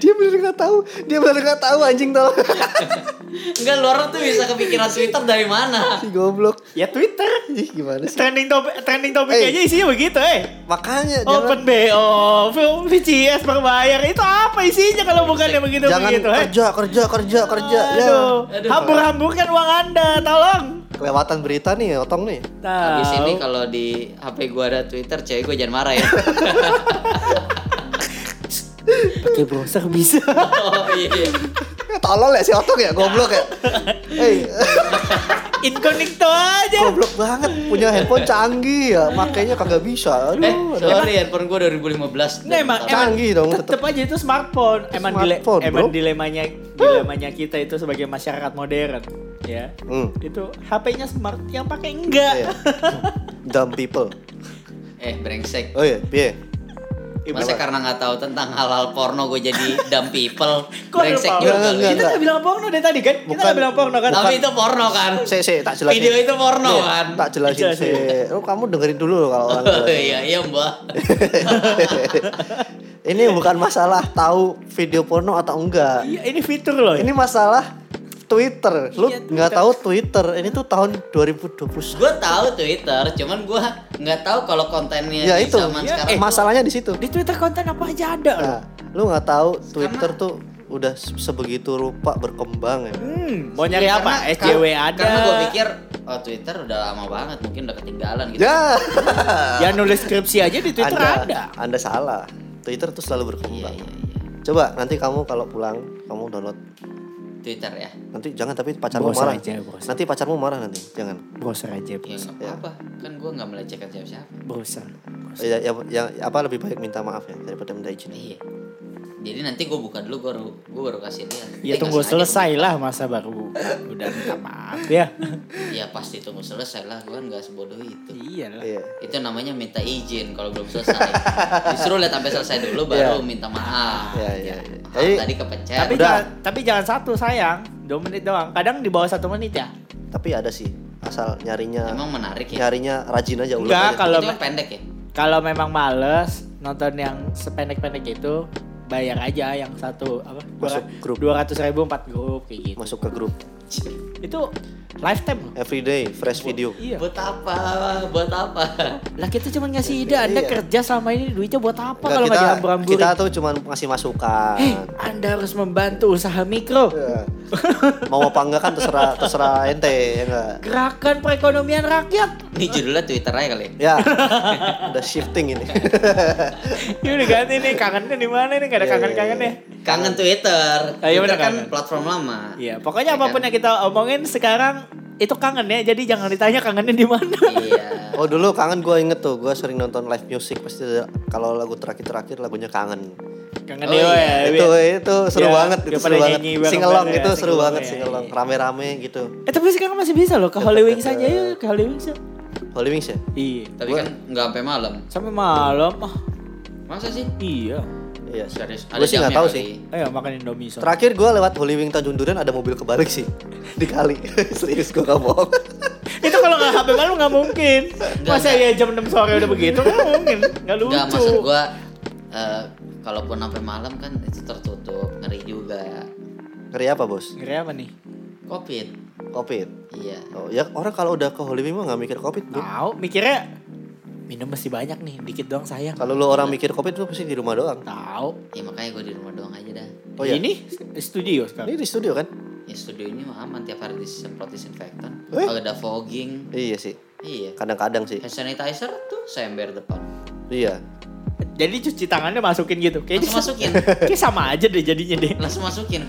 [SPEAKER 2] dia benar nggak tahu. Dia benar nggak tahu anjing tolong.
[SPEAKER 3] Enggak, lu orang tuh bisa kepikiran Twitter dari mana?
[SPEAKER 2] Si goblok.
[SPEAKER 1] Ya Twitter.
[SPEAKER 2] Ih, gimana sih?
[SPEAKER 1] Trending topik trending topik
[SPEAKER 2] Eh.
[SPEAKER 1] aja isinya begitu eh.
[SPEAKER 2] Makanya
[SPEAKER 1] Open BO, film VCS berbayar itu apa isinya kalau bukan yang begitu
[SPEAKER 2] jangan jangan
[SPEAKER 1] begitu eh?
[SPEAKER 2] kerja, kerja, kerja, kerja. Ya.
[SPEAKER 1] Aduh,
[SPEAKER 3] Aduh.
[SPEAKER 1] hambur-hamburkan uang anda, tolong. Nah,
[SPEAKER 2] Kelewatan berita nih, otong nih.
[SPEAKER 1] Tahu.
[SPEAKER 3] Habis ini kalau di HP gua ada Twitter, cewek gua jangan marah ya.
[SPEAKER 1] pakai browser bisa.
[SPEAKER 3] oh iya. iya.
[SPEAKER 2] Eh, Tolol ya si otong ya, goblok ya. Eh,
[SPEAKER 1] Incognito aja.
[SPEAKER 2] goblok banget. Punya handphone canggih ya, makanya kagak bisa.
[SPEAKER 3] Eh,
[SPEAKER 2] Aduh, aduh.
[SPEAKER 3] sorry handphone gua 2015.
[SPEAKER 1] Nah, emang, emang
[SPEAKER 2] Canggih dong,
[SPEAKER 1] tetep,
[SPEAKER 2] tetep.
[SPEAKER 1] aja itu smartphone. Emang dile-
[SPEAKER 2] Smartphone, bro.
[SPEAKER 1] emang dilemanya dilemanya kita itu sebagai masyarakat modern, ya.
[SPEAKER 2] Hmm.
[SPEAKER 1] Itu HP-nya smart yang pakai enggak.
[SPEAKER 2] Iya. Dumb people.
[SPEAKER 3] Eh, brengsek.
[SPEAKER 2] Oh iya, piye?
[SPEAKER 3] Masa karena nggak tahu tentang halal porno gue jadi dumb people
[SPEAKER 1] Kok ada
[SPEAKER 3] brengsek
[SPEAKER 1] porno?
[SPEAKER 3] juga
[SPEAKER 2] Enggak,
[SPEAKER 3] lu.
[SPEAKER 2] enggak,
[SPEAKER 1] Kita
[SPEAKER 2] enggak.
[SPEAKER 1] nggak bilang porno dari tadi kan? Kita
[SPEAKER 2] Bukan.
[SPEAKER 1] nggak bilang porno kan?
[SPEAKER 3] Tapi itu porno kan?
[SPEAKER 2] Saya saya tak jelasin.
[SPEAKER 3] Video itu porno
[SPEAKER 2] Iya,
[SPEAKER 3] kan?
[SPEAKER 2] Tak jelasin
[SPEAKER 1] Jelasin.
[SPEAKER 2] sih. Lu kamu dengerin dulu loh kalau orang
[SPEAKER 3] Oh,
[SPEAKER 2] jelasin.
[SPEAKER 3] iya iya mbak.
[SPEAKER 2] Ini bukan masalah tahu video porno atau enggak.
[SPEAKER 1] Iya, ini fitur loh.
[SPEAKER 2] Ini masalah Twitter. Lu
[SPEAKER 1] Iya,
[SPEAKER 2] nggak
[SPEAKER 1] Twitter.
[SPEAKER 2] tahu Twitter. Ini tuh tahun 2021.
[SPEAKER 3] Gue tahu Twitter, cuman gue nggak tahu kalau kontennya
[SPEAKER 2] Ya
[SPEAKER 3] Iya, di
[SPEAKER 2] itu.
[SPEAKER 3] zaman
[SPEAKER 1] Ya, eh,
[SPEAKER 3] sekarang.
[SPEAKER 2] Masalahnya di situ.
[SPEAKER 1] Di Twitter konten apa aja ada loh.
[SPEAKER 2] Nah, lu nggak tahu Twitter tuh udah se- sebegitu rupa berkembang ya.
[SPEAKER 1] Hmm, mau nyari
[SPEAKER 3] Iya, Karena-
[SPEAKER 1] apa?
[SPEAKER 3] kar-
[SPEAKER 1] SJW ada.
[SPEAKER 3] Karena gue pikir oh, Twitter udah lama banget, mungkin udah ketinggalan gitu.
[SPEAKER 2] Ya.
[SPEAKER 1] Ya nulis skripsi aja di Twitter ada.
[SPEAKER 2] Anda salah. Twitter tuh selalu
[SPEAKER 3] Iya
[SPEAKER 2] berkembang.
[SPEAKER 3] iya iya.
[SPEAKER 2] Coba nanti kamu kalau pulang kamu download.
[SPEAKER 3] Twitter ya.
[SPEAKER 2] Nanti jangan tapi pacarmu
[SPEAKER 1] Bosan
[SPEAKER 2] marah.
[SPEAKER 1] aja, bosan.
[SPEAKER 2] Nanti pacarmu marah nanti. Jangan.
[SPEAKER 1] Browser aja,
[SPEAKER 3] Ya
[SPEAKER 1] browser.
[SPEAKER 3] nggak apa-apa, kan gue nggak melecehkan siapa-siapa.
[SPEAKER 1] Browser.
[SPEAKER 2] Ya, ya, ya, apa lebih baik minta maaf ya daripada minta izin.
[SPEAKER 3] Iya. Jadi nanti gue buka dulu, gue baru, gue baru kasih lihat.
[SPEAKER 1] Ya
[SPEAKER 3] Eh,
[SPEAKER 1] tunggu
[SPEAKER 3] nggak sengaja
[SPEAKER 1] selesai lah masa baru buka. Udah minta maaf ya.
[SPEAKER 3] gua- Iya pasti tunggu selesai lah, gue kan nggak sebodoh itu.
[SPEAKER 1] Iyalah.
[SPEAKER 2] Iya.
[SPEAKER 3] Itu namanya minta izin kalau belum selesai. Disuruh lihat sampai selesai dulu,
[SPEAKER 1] Iya.
[SPEAKER 3] baru minta maaf.
[SPEAKER 2] Iya, iya, iya.
[SPEAKER 3] Maaf,
[SPEAKER 2] Jadi-
[SPEAKER 3] tadi kepencet.
[SPEAKER 1] Tapi
[SPEAKER 2] Udah.
[SPEAKER 1] jangan, tapi jangan satu sayang. Dua menit doang. Kadang di bawah satu menit ya.
[SPEAKER 2] Tapi ada sih asal nyarinya
[SPEAKER 3] Emang menarik ya.
[SPEAKER 2] nyarinya rajin aja ulang
[SPEAKER 1] Enggak
[SPEAKER 2] aja.
[SPEAKER 1] kalau
[SPEAKER 3] itu kan pendek ya.
[SPEAKER 1] kalau memang males nonton yang sependek-pendek itu bayar aja yang satu apa
[SPEAKER 2] Masuk grup.
[SPEAKER 1] dua ratus ribu empat grup kayak gitu
[SPEAKER 2] masuk ke grup
[SPEAKER 1] itu lifetime loh
[SPEAKER 2] everyday fresh video.
[SPEAKER 1] iya
[SPEAKER 3] Buat apa? Buat apa?
[SPEAKER 1] lah kita cuma ngasih ide anda
[SPEAKER 2] Iya.
[SPEAKER 1] kerja selama ini duitnya buat apa
[SPEAKER 2] Enggak,
[SPEAKER 1] kalau nggak Eh,
[SPEAKER 2] kita
[SPEAKER 1] dihambur-hamburin
[SPEAKER 2] kita tuh cuman ngasih masukan.
[SPEAKER 1] Hei, anda harus membantu usaha mikro
[SPEAKER 2] Iya. Mau apa enggak kan terserah terserah ente ya enggak.
[SPEAKER 1] gerakan perekonomian rakyat
[SPEAKER 3] Ini judulnya Twitter aja kali. ya.
[SPEAKER 2] Ya. Udah shifting ini.
[SPEAKER 1] ini udah ganti nih kangennya di mana nih gak ada
[SPEAKER 2] Iya, iya,
[SPEAKER 1] kangen-kangennya
[SPEAKER 3] Kangen Twitter.
[SPEAKER 1] Ah, iya
[SPEAKER 3] Twitter
[SPEAKER 1] bener,
[SPEAKER 3] kan
[SPEAKER 1] kangen.
[SPEAKER 3] platform lama.
[SPEAKER 1] iya pokoknya
[SPEAKER 3] Ya kan?
[SPEAKER 1] apapun yang kita omongin sekarang itu kangen ya jadi jangan ditanya kangennya di mana
[SPEAKER 3] Iya.
[SPEAKER 2] Oh dulu kangen gue inget tuh, gue sering nonton live music pasti ada- kalau lagu terakhir-terakhir lagunya kangen.
[SPEAKER 1] kangen
[SPEAKER 3] Oh,
[SPEAKER 1] dewa
[SPEAKER 3] iya.
[SPEAKER 1] ya
[SPEAKER 2] itu
[SPEAKER 1] Bi.
[SPEAKER 2] itu seru
[SPEAKER 1] Ya,
[SPEAKER 2] banget,
[SPEAKER 1] dia
[SPEAKER 2] itu
[SPEAKER 1] pada
[SPEAKER 2] seru banget.
[SPEAKER 1] nyanyi bareng-bareng
[SPEAKER 2] Singelong
[SPEAKER 1] ya,
[SPEAKER 2] itu seru
[SPEAKER 1] singelong
[SPEAKER 2] banget,
[SPEAKER 1] ya,
[SPEAKER 2] singelong
[SPEAKER 1] iya.
[SPEAKER 2] rame-rame gitu.
[SPEAKER 1] Eh tapi sekarang masih bisa loh ke Holy Wings aja ya ke Holy Wings ya.
[SPEAKER 2] Holy Wings ya?
[SPEAKER 1] Iya.
[SPEAKER 3] Tapi
[SPEAKER 2] Gua-
[SPEAKER 3] kan nggak sampai malam.
[SPEAKER 1] Sampai malam. Ah,
[SPEAKER 3] Masa sih?
[SPEAKER 1] iya.
[SPEAKER 2] Iya.
[SPEAKER 3] Serius.
[SPEAKER 2] Gua sih nggak
[SPEAKER 3] jamnya
[SPEAKER 2] tahu
[SPEAKER 3] kali.
[SPEAKER 2] sih.
[SPEAKER 1] Ayo makan Indomie so.
[SPEAKER 2] Terakhir gue lewat Holy Wing Tanjung Duren ada mobil kebalik sih di kali. Serius gue gak bohong.
[SPEAKER 1] Itu kalau nggak HP malu nggak mungkin. Masa ya jam 6 sore udah begitu nggak mungkin. Nggak lucu.
[SPEAKER 3] Nggak maksud gua eh, kalaupun sampai malam kan itu tertutup, ngeri juga.
[SPEAKER 2] Ngeri apa bos?
[SPEAKER 1] Ngeri apa nih?
[SPEAKER 3] Covid.
[SPEAKER 2] Covid.
[SPEAKER 3] Iya.
[SPEAKER 2] Oh, ya orang kalau udah ke Holy Wing mah nggak mikir covid bro.
[SPEAKER 1] Tahu mikirnya minum masih banyak nih, dikit doang sayang.
[SPEAKER 2] Kalau lu orang mikir covid lu pasti di rumah doang.
[SPEAKER 1] Tahu.
[SPEAKER 3] Ya makanya gue di rumah doang aja dah.
[SPEAKER 2] Oh iya.
[SPEAKER 1] Ini studio sekarang.
[SPEAKER 2] Ini di studio kan?
[SPEAKER 3] Ya studio ini mah aman tiap hari disemprot disinfektan.
[SPEAKER 2] Eh?
[SPEAKER 3] Kalau ada fogging,
[SPEAKER 2] Iya sih.
[SPEAKER 3] iya.
[SPEAKER 2] Kadang-kadang sih.
[SPEAKER 3] Hand sanitizer tuh ember depan.
[SPEAKER 2] Eh. Iya.
[SPEAKER 1] Jadi cuci tangannya masukin gitu. Kayaknya
[SPEAKER 3] Langsung masukin.
[SPEAKER 1] Kayak sama aja deh jadinya deh.
[SPEAKER 3] Langsung masukin.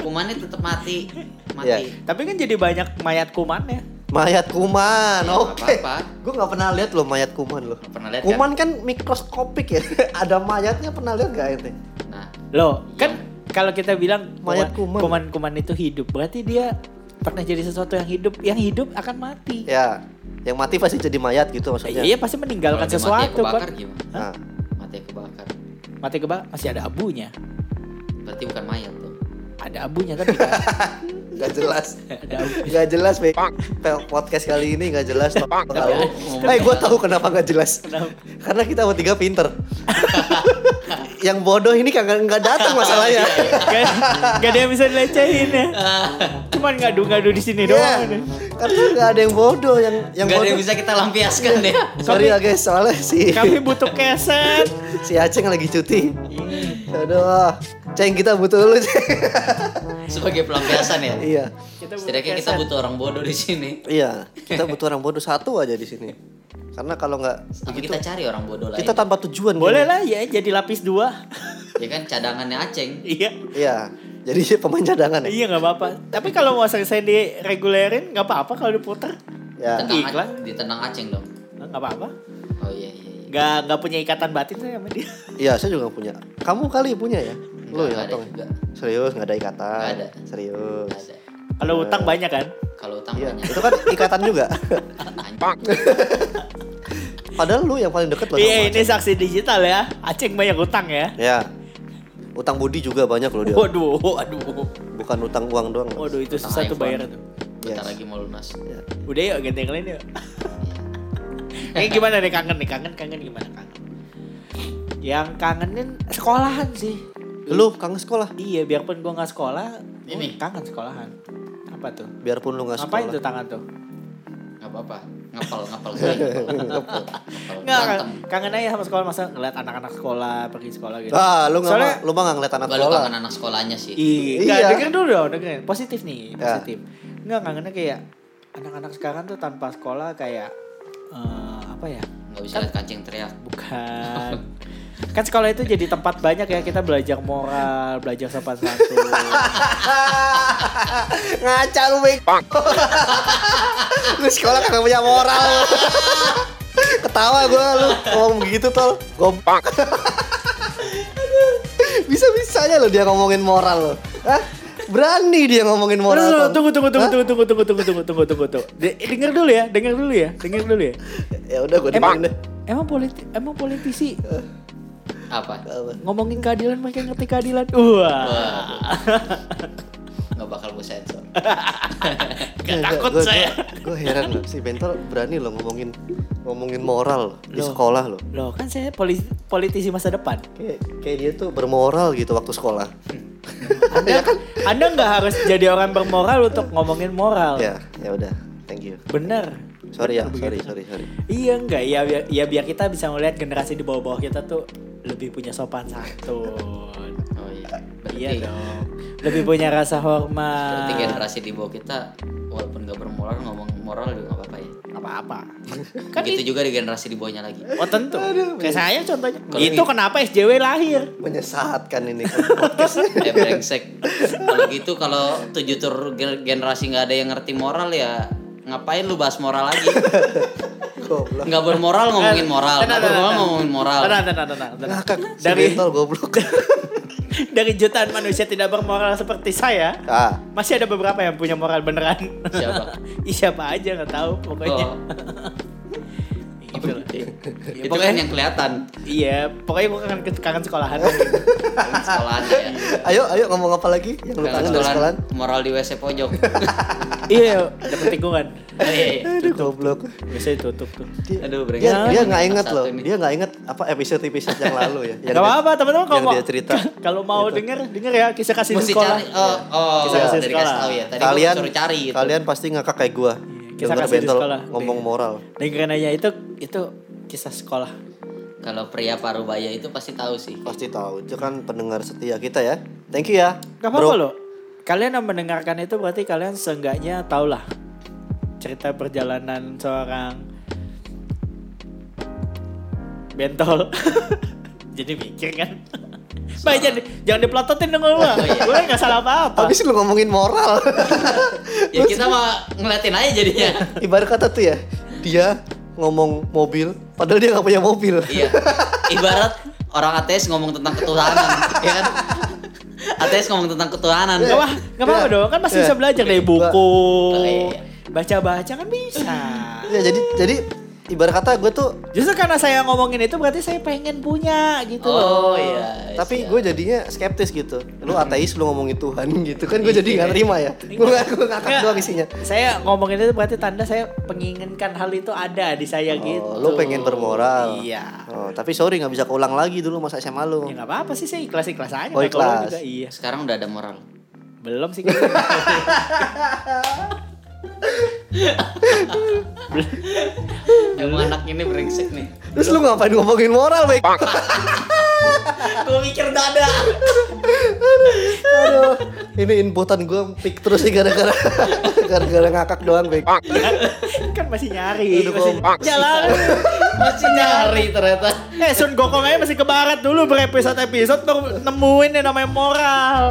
[SPEAKER 3] Kumannya tetap mati. Mati.
[SPEAKER 2] Iya.
[SPEAKER 1] Tapi kan jadi banyak mayat kumannya.
[SPEAKER 2] Mayat kuman.
[SPEAKER 3] Ya, nggak
[SPEAKER 2] Oke.
[SPEAKER 3] apa-apa.
[SPEAKER 2] Gue nggak pernah lihat loh mayat kuman loh.
[SPEAKER 3] Nggak pernah lihat kan?
[SPEAKER 2] Kuman kan mikroskopik ya. Ada mayatnya pernah lihat gak ente?
[SPEAKER 3] Nah,
[SPEAKER 1] Loh,
[SPEAKER 3] Iya.
[SPEAKER 1] kan kalau kita bilang
[SPEAKER 2] Mayat kuman.
[SPEAKER 1] kuman-kuman itu hidup, berarti dia pernah jadi sesuatu yang hidup, yang hidup akan mati.
[SPEAKER 2] Ya. Yang mati pasti jadi mayat gitu maksudnya.
[SPEAKER 1] Iya, pasti meninggalkan
[SPEAKER 3] kalau dia
[SPEAKER 1] sesuatu,
[SPEAKER 3] Mati kebakar
[SPEAKER 1] Bang.
[SPEAKER 3] gimana?
[SPEAKER 2] Nah,
[SPEAKER 3] Mati kebakar.
[SPEAKER 1] Mati kebakar masih ada abunya.
[SPEAKER 3] Berarti bukan mayat tuh.
[SPEAKER 1] Ada abunya tapi kan.
[SPEAKER 2] gak jelas.
[SPEAKER 1] ada abu.
[SPEAKER 2] Gak jelas, Be. Pel- Podcast kali ini gak jelas.
[SPEAKER 3] Tapi
[SPEAKER 2] Eh,
[SPEAKER 3] ngomong-
[SPEAKER 2] gue tahu kenapa gak jelas.
[SPEAKER 1] Kenapa?
[SPEAKER 2] Karena kita bertiga pinter. yang bodoh ini kagak nggak datang masalahnya.
[SPEAKER 1] Gak, gak ada yang bisa dilecehin ya. Cuman ngadu-ngadu di sini doang. nih.
[SPEAKER 2] Iya. Karena nggak ada yang bodoh yang yang
[SPEAKER 3] Gak ada yang
[SPEAKER 2] bodoh.
[SPEAKER 3] bisa kita lampiaskan deh.
[SPEAKER 2] Sorry ya guys, soalnya si
[SPEAKER 1] Kami butuh keset.
[SPEAKER 2] si Aceng lagi cuti. Aduh, ah. Ceng kita butuh lu. Ceng.
[SPEAKER 3] Sebagai pelampiasan ya.
[SPEAKER 2] iya.
[SPEAKER 1] Kita
[SPEAKER 3] Setidaknya kita
[SPEAKER 1] keset.
[SPEAKER 3] butuh orang bodoh di sini.
[SPEAKER 2] Iya, kita butuh orang bodoh satu aja di sini. Karena kalau nggak
[SPEAKER 3] Tapi kita cari orang bodoh lain.
[SPEAKER 2] Gitu. kita tanpa tujuan.
[SPEAKER 1] Boleh
[SPEAKER 2] gitu.
[SPEAKER 1] lah ya jadi lapis dua.
[SPEAKER 3] Ya kan cadangannya Aceng.
[SPEAKER 1] iya.
[SPEAKER 2] Iya. Jadi pemain cadangan ya.
[SPEAKER 1] Iya nggak apa-apa. Tapi kalau mau selesai diregulerin nggak apa-apa kalau diputer.
[SPEAKER 2] Ya.
[SPEAKER 3] Tenang
[SPEAKER 1] Iklan.
[SPEAKER 3] A- ditendang Aceng dong.
[SPEAKER 1] Nggak apa-apa.
[SPEAKER 3] Oh iya iya. iya.
[SPEAKER 1] Nggak nggak punya ikatan batin saya sama dia.
[SPEAKER 2] Iya, saya juga punya. Kamu kali punya ya? Lu
[SPEAKER 3] Nggak,
[SPEAKER 2] yang
[SPEAKER 3] nggak ada
[SPEAKER 2] otong.
[SPEAKER 3] juga.
[SPEAKER 2] Serius nggak ada ikatan.
[SPEAKER 3] Nggak ada.
[SPEAKER 2] Serius.
[SPEAKER 3] Nggak ada.
[SPEAKER 1] Kalau utang banyak kan?
[SPEAKER 3] Kalau utang
[SPEAKER 2] Iya,
[SPEAKER 3] banyak.
[SPEAKER 2] itu kan ikatan juga.
[SPEAKER 3] Anjing.
[SPEAKER 2] Padahal lu yang paling deket loh. sama
[SPEAKER 1] Iya ini
[SPEAKER 2] Aceh.
[SPEAKER 1] saksi digital ya. Aceng banyak utang ya.
[SPEAKER 2] Ya. Utang budi juga banyak loh dia.
[SPEAKER 1] Waduh, waduh.
[SPEAKER 2] Bukan utang uang doang.
[SPEAKER 1] Waduh itu
[SPEAKER 3] Utang gitu.
[SPEAKER 1] susah tuh
[SPEAKER 3] iPhone.
[SPEAKER 1] bayaran. tuh.
[SPEAKER 3] Bentar
[SPEAKER 2] Yes.
[SPEAKER 3] lagi mau lunas.
[SPEAKER 2] Ya.
[SPEAKER 1] Udah yuk ganti yang lain yuk. Ini gimana nih kangen nih? Kangen kangen gimana kangen? Yang kangenin sekolahan sih.
[SPEAKER 2] Lu kangen sekolah.
[SPEAKER 1] Iya, biarpun gua nggak sekolah, gua
[SPEAKER 3] Ini.
[SPEAKER 1] kangen sekolahan. Apa tuh?
[SPEAKER 2] Biarpun lu nggak
[SPEAKER 1] Ngapain
[SPEAKER 2] sekolah.
[SPEAKER 1] tuh tangan tuh?
[SPEAKER 3] Gak apa-apa. Ngapel ngapel gue. Ngapel. Ngapel.
[SPEAKER 1] Nggak,
[SPEAKER 3] Berantem.
[SPEAKER 1] kangen aja sama sekolah masa ngeliat anak-anak sekolah pergi sekolah gitu.
[SPEAKER 2] Ah, lu nggak
[SPEAKER 1] Soalnya-
[SPEAKER 2] lu mah nggak ngeliat anak
[SPEAKER 3] Gak lu
[SPEAKER 2] sekolah.
[SPEAKER 3] kangen anak sekolahnya sih.
[SPEAKER 1] Iya,
[SPEAKER 2] Iya.
[SPEAKER 1] nggak, denger dulu dong, dengerin. Positif nih,
[SPEAKER 2] Ya.
[SPEAKER 1] positif. Enggak kangennya kayak anak-anak sekarang tuh tanpa sekolah kayak eh, apa ya?
[SPEAKER 3] Gak bisa lihat kancing teriak.
[SPEAKER 1] Bukan. kan sekolah itu jadi tempat banyak ya kita belajar moral, belajar sopan santun.
[SPEAKER 2] Ngaca lu bego. lu sekolah kagak punya moral. lu. Ketawa gue lu ngomong begitu tol. Gompak. Bisa-bisanya lo dia ngomongin moral lo. Hah? Berani dia ngomongin moral.
[SPEAKER 1] Terus
[SPEAKER 2] Tol.
[SPEAKER 1] tunggu tunggu tunggu
[SPEAKER 2] Hah?
[SPEAKER 1] tunggu tunggu tunggu tunggu tunggu tunggu tunggu tunggu. De- denger dulu ya, denger dulu ya, denger dulu ya.
[SPEAKER 2] Ya udah gue
[SPEAKER 1] Emang
[SPEAKER 2] dengerin deh.
[SPEAKER 1] emang politi emang politisi
[SPEAKER 3] Apa?
[SPEAKER 2] Apa?
[SPEAKER 1] ngomongin keadilan mereka ngerti keadilan. Wah.
[SPEAKER 3] Gak bakal gue sensor.
[SPEAKER 1] Gak takut
[SPEAKER 2] Iya, Gua- gua-
[SPEAKER 1] saya.
[SPEAKER 2] Gue heran loh, si Bentol berani lo ngomongin ngomongin moral loh, di
[SPEAKER 1] Loh.
[SPEAKER 2] sekolah lo.
[SPEAKER 1] Loh, kan saya poli- politisi masa depan.
[SPEAKER 2] Kayak, kayak dia tuh bermoral gitu waktu sekolah.
[SPEAKER 1] Anda kan, Anda nggak harus jadi orang bermoral untuk ngomongin moral.
[SPEAKER 2] Ya, ya udah. Thank you.
[SPEAKER 1] Bener.
[SPEAKER 2] Sorry ya,
[SPEAKER 1] Bener
[SPEAKER 2] sorry,
[SPEAKER 1] Oh. begitu.
[SPEAKER 2] sorry, sorry.
[SPEAKER 1] Iya enggak, ya biar, ya biar kita bisa melihat generasi di bawah-bawah kita tuh lebih punya sopan santun.
[SPEAKER 3] Oh iya.
[SPEAKER 1] iya
[SPEAKER 3] Berarti
[SPEAKER 1] dong. Lebih punya rasa hormat.
[SPEAKER 3] Berarti generasi di bawah kita walaupun gak bermoral ngomong moral juga gak apa-apa ya.
[SPEAKER 1] apa-apa.
[SPEAKER 3] Kan gitu juga di generasi di bawahnya lagi.
[SPEAKER 1] Oh tentu. Kayak saya contohnya.
[SPEAKER 3] Kalau
[SPEAKER 1] itu
[SPEAKER 3] ini-
[SPEAKER 1] kenapa SJW lahir.
[SPEAKER 2] Menyesatkan ini podcast.
[SPEAKER 3] Eh brengsek. Kalau gitu kalau tujuh tur gen- generasi nggak ada yang ngerti moral ya ngapain lu bahas moral lagi?
[SPEAKER 2] Goblok.
[SPEAKER 3] Nggak bermoral ngomongin
[SPEAKER 1] Nah,
[SPEAKER 3] moral, nggak bermoral ngomongin moral.
[SPEAKER 1] Tenang, tenang, tenang, tenang.
[SPEAKER 2] Ngakak Ah, si
[SPEAKER 1] Dari
[SPEAKER 2] Bentol goblok.
[SPEAKER 1] dari jutaan manusia tidak bermoral seperti saya,
[SPEAKER 2] ah,
[SPEAKER 1] masih ada beberapa yang punya moral beneran.
[SPEAKER 3] Siapa?
[SPEAKER 1] Ih, Siapa aja nggak tahu
[SPEAKER 3] Oh,
[SPEAKER 1] pokoknya. Gitu loh. Ya,
[SPEAKER 3] itu kan
[SPEAKER 1] pokoknya
[SPEAKER 3] yang kelihatan
[SPEAKER 1] iya, pokoknya gue kangen kangen sekolahan.
[SPEAKER 3] Kangen sekolahan ya.
[SPEAKER 2] ayo ayo ngomong apa lagi yang lu
[SPEAKER 3] Kangen
[SPEAKER 2] kangen dari
[SPEAKER 3] sekolahan,
[SPEAKER 2] sekolahan?
[SPEAKER 3] moral di WC pojok.
[SPEAKER 1] iya, dapet tikungan.
[SPEAKER 3] Hei,
[SPEAKER 2] Aduh goblok.
[SPEAKER 1] Biasanya tutup tuh.
[SPEAKER 2] Dia,
[SPEAKER 3] Aduh, brengsek.
[SPEAKER 2] dia, dia nggak
[SPEAKER 3] Satu
[SPEAKER 2] inget loh,
[SPEAKER 3] ini.
[SPEAKER 2] dia nggak inget apa episode-episode yang lalu ya. Yang
[SPEAKER 1] Gak
[SPEAKER 2] dia-
[SPEAKER 1] apa-apa teman-teman kalau
[SPEAKER 2] yang
[SPEAKER 1] mau
[SPEAKER 2] dia cerita.
[SPEAKER 1] kalau mau denger denger ya kisah kasih di
[SPEAKER 3] Mesti
[SPEAKER 1] sekolah.
[SPEAKER 3] cari. Oh, oh,
[SPEAKER 1] Kisah kasih
[SPEAKER 3] dari kasih
[SPEAKER 1] sekolah.
[SPEAKER 3] tahu ya. Tadi
[SPEAKER 2] kalian
[SPEAKER 3] gua suruh cari gitu.
[SPEAKER 2] kalian pasti ngakak kayak gua.
[SPEAKER 1] Iya, kisah
[SPEAKER 2] Dengar
[SPEAKER 1] kasih di
[SPEAKER 2] Bentol
[SPEAKER 1] sekolah.
[SPEAKER 2] ngomong
[SPEAKER 1] Iya.
[SPEAKER 2] moral.
[SPEAKER 1] Dengerin aja itu itu kisah sekolah.
[SPEAKER 3] Kalau pria parubaya itu pasti tahu sih.
[SPEAKER 2] Pasti tahu, itu kan pendengar setia kita ya. Thank you ya.
[SPEAKER 1] Gak apa-apa loh. Kalian yang mendengarkan itu berarti kalian seenggaknya tahulah cerita perjalanan seorang bentol. Jadi mikir kan. Oh, iya. Baik jangan, jangan dipelototin dong gua. Gue gak salah apa-apa.
[SPEAKER 2] Habis lu ngomongin moral.
[SPEAKER 3] Ya kita mah ngeliatin aja jadinya.
[SPEAKER 2] Ibarat kata tuh ya, dia ngomong mobil padahal dia nggak punya mobil.
[SPEAKER 3] Iya. Ibarat orang ateis ngomong tentang ketuhanan, ya kan? Ateis ngomong tentang ketuhanan.
[SPEAKER 1] Gak apa- gak apa-apa
[SPEAKER 2] Iya. oh,
[SPEAKER 1] dong, kan masih
[SPEAKER 2] Iya.
[SPEAKER 1] bisa belajar dari buku.
[SPEAKER 3] Oke.
[SPEAKER 1] Baca-baca kan bisa.
[SPEAKER 2] Ya jadi jadi ibarat kata gue tuh
[SPEAKER 1] Justru karena saya ngomongin itu berarti saya pengen punya gitu loh.
[SPEAKER 3] oh iya
[SPEAKER 1] ya.
[SPEAKER 2] tapi
[SPEAKER 3] siap.
[SPEAKER 2] gue jadinya skeptis gitu lu
[SPEAKER 1] Hmm.
[SPEAKER 2] ateis lu ngomongin Tuhan gitu kan
[SPEAKER 1] Iya.
[SPEAKER 2] gue jadi nggak terima ya gue nggak gue ngakak
[SPEAKER 1] Nggak.
[SPEAKER 2] doang isinya
[SPEAKER 1] Saya ngomongin itu berarti tanda saya menginginkan hal itu ada di saya gitu.
[SPEAKER 2] oh, lu pengen bermoral
[SPEAKER 1] Iya.
[SPEAKER 2] oh, tapi sorry nggak bisa keulang lagi dulu masa SMA lu
[SPEAKER 1] Ya nggak apa-apa sih saya ikhlas-ikhlas aja.
[SPEAKER 2] Oh,
[SPEAKER 1] nggak keluar
[SPEAKER 2] ikhlas.
[SPEAKER 1] juga, Iya.
[SPEAKER 3] Ya, sekarang udah ada moral
[SPEAKER 1] Belum sih. kayaknya.
[SPEAKER 3] emang anak ini brengsek nih
[SPEAKER 2] terus lu ngapain ngomongin moral baik
[SPEAKER 3] gue mikir dada
[SPEAKER 2] aduh ini inputan gue pik terus sih gara-gara gara-gara ngakak doang baik
[SPEAKER 1] kan masih nyari.
[SPEAKER 2] Udah
[SPEAKER 1] Masih
[SPEAKER 2] kompak.
[SPEAKER 1] jalan.
[SPEAKER 3] masih nyari ternyata
[SPEAKER 1] eh Sun Gokong aja masih ke barat dulu berepisode-episode baru nemuin yang namanya moral.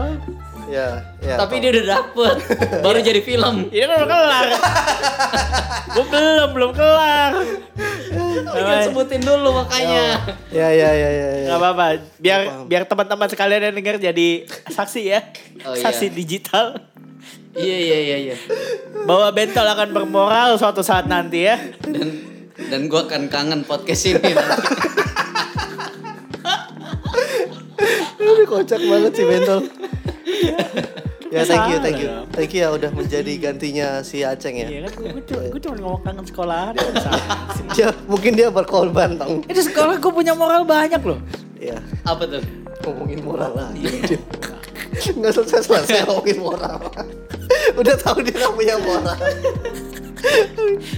[SPEAKER 2] ya ya
[SPEAKER 3] tapi dia udah dapet baru jadi film
[SPEAKER 1] Ini
[SPEAKER 2] Iya.
[SPEAKER 1] kan udah kelar. Gue belum, belum kelar.
[SPEAKER 3] Jangan sebutin dulu makanya
[SPEAKER 2] ya ya ya ya, ya.
[SPEAKER 1] Gak apa-apa, biar biar teman-teman sekalian yang denger jadi saksi ya,
[SPEAKER 3] Oh, iya.
[SPEAKER 1] saksi digital
[SPEAKER 3] iya iya iya iya
[SPEAKER 1] bahwa bentol akan bermoral suatu saat nanti ya.
[SPEAKER 3] dan dan gue akan kangen podcast ini nanti.
[SPEAKER 2] Aduh kocak banget sih Bentol. ya thank you, thank you.
[SPEAKER 1] Salah.
[SPEAKER 2] Thank you ya udah menjadi gantinya si Aceng ya.
[SPEAKER 1] Iya kan, gue cuma, gua cuma ngomong kangen sekolahan. doang, saksi.
[SPEAKER 2] Ya, mungkin dia berkorban tong.
[SPEAKER 1] Eh, di sekolah gue punya moral banyak loh.
[SPEAKER 2] Ya,
[SPEAKER 3] apa tuh
[SPEAKER 2] ngomongin moral lagi.
[SPEAKER 1] Iya.
[SPEAKER 2] dia. Nggak selesai-selesai ngomongin moral. udah tahu dia nggak punya moral.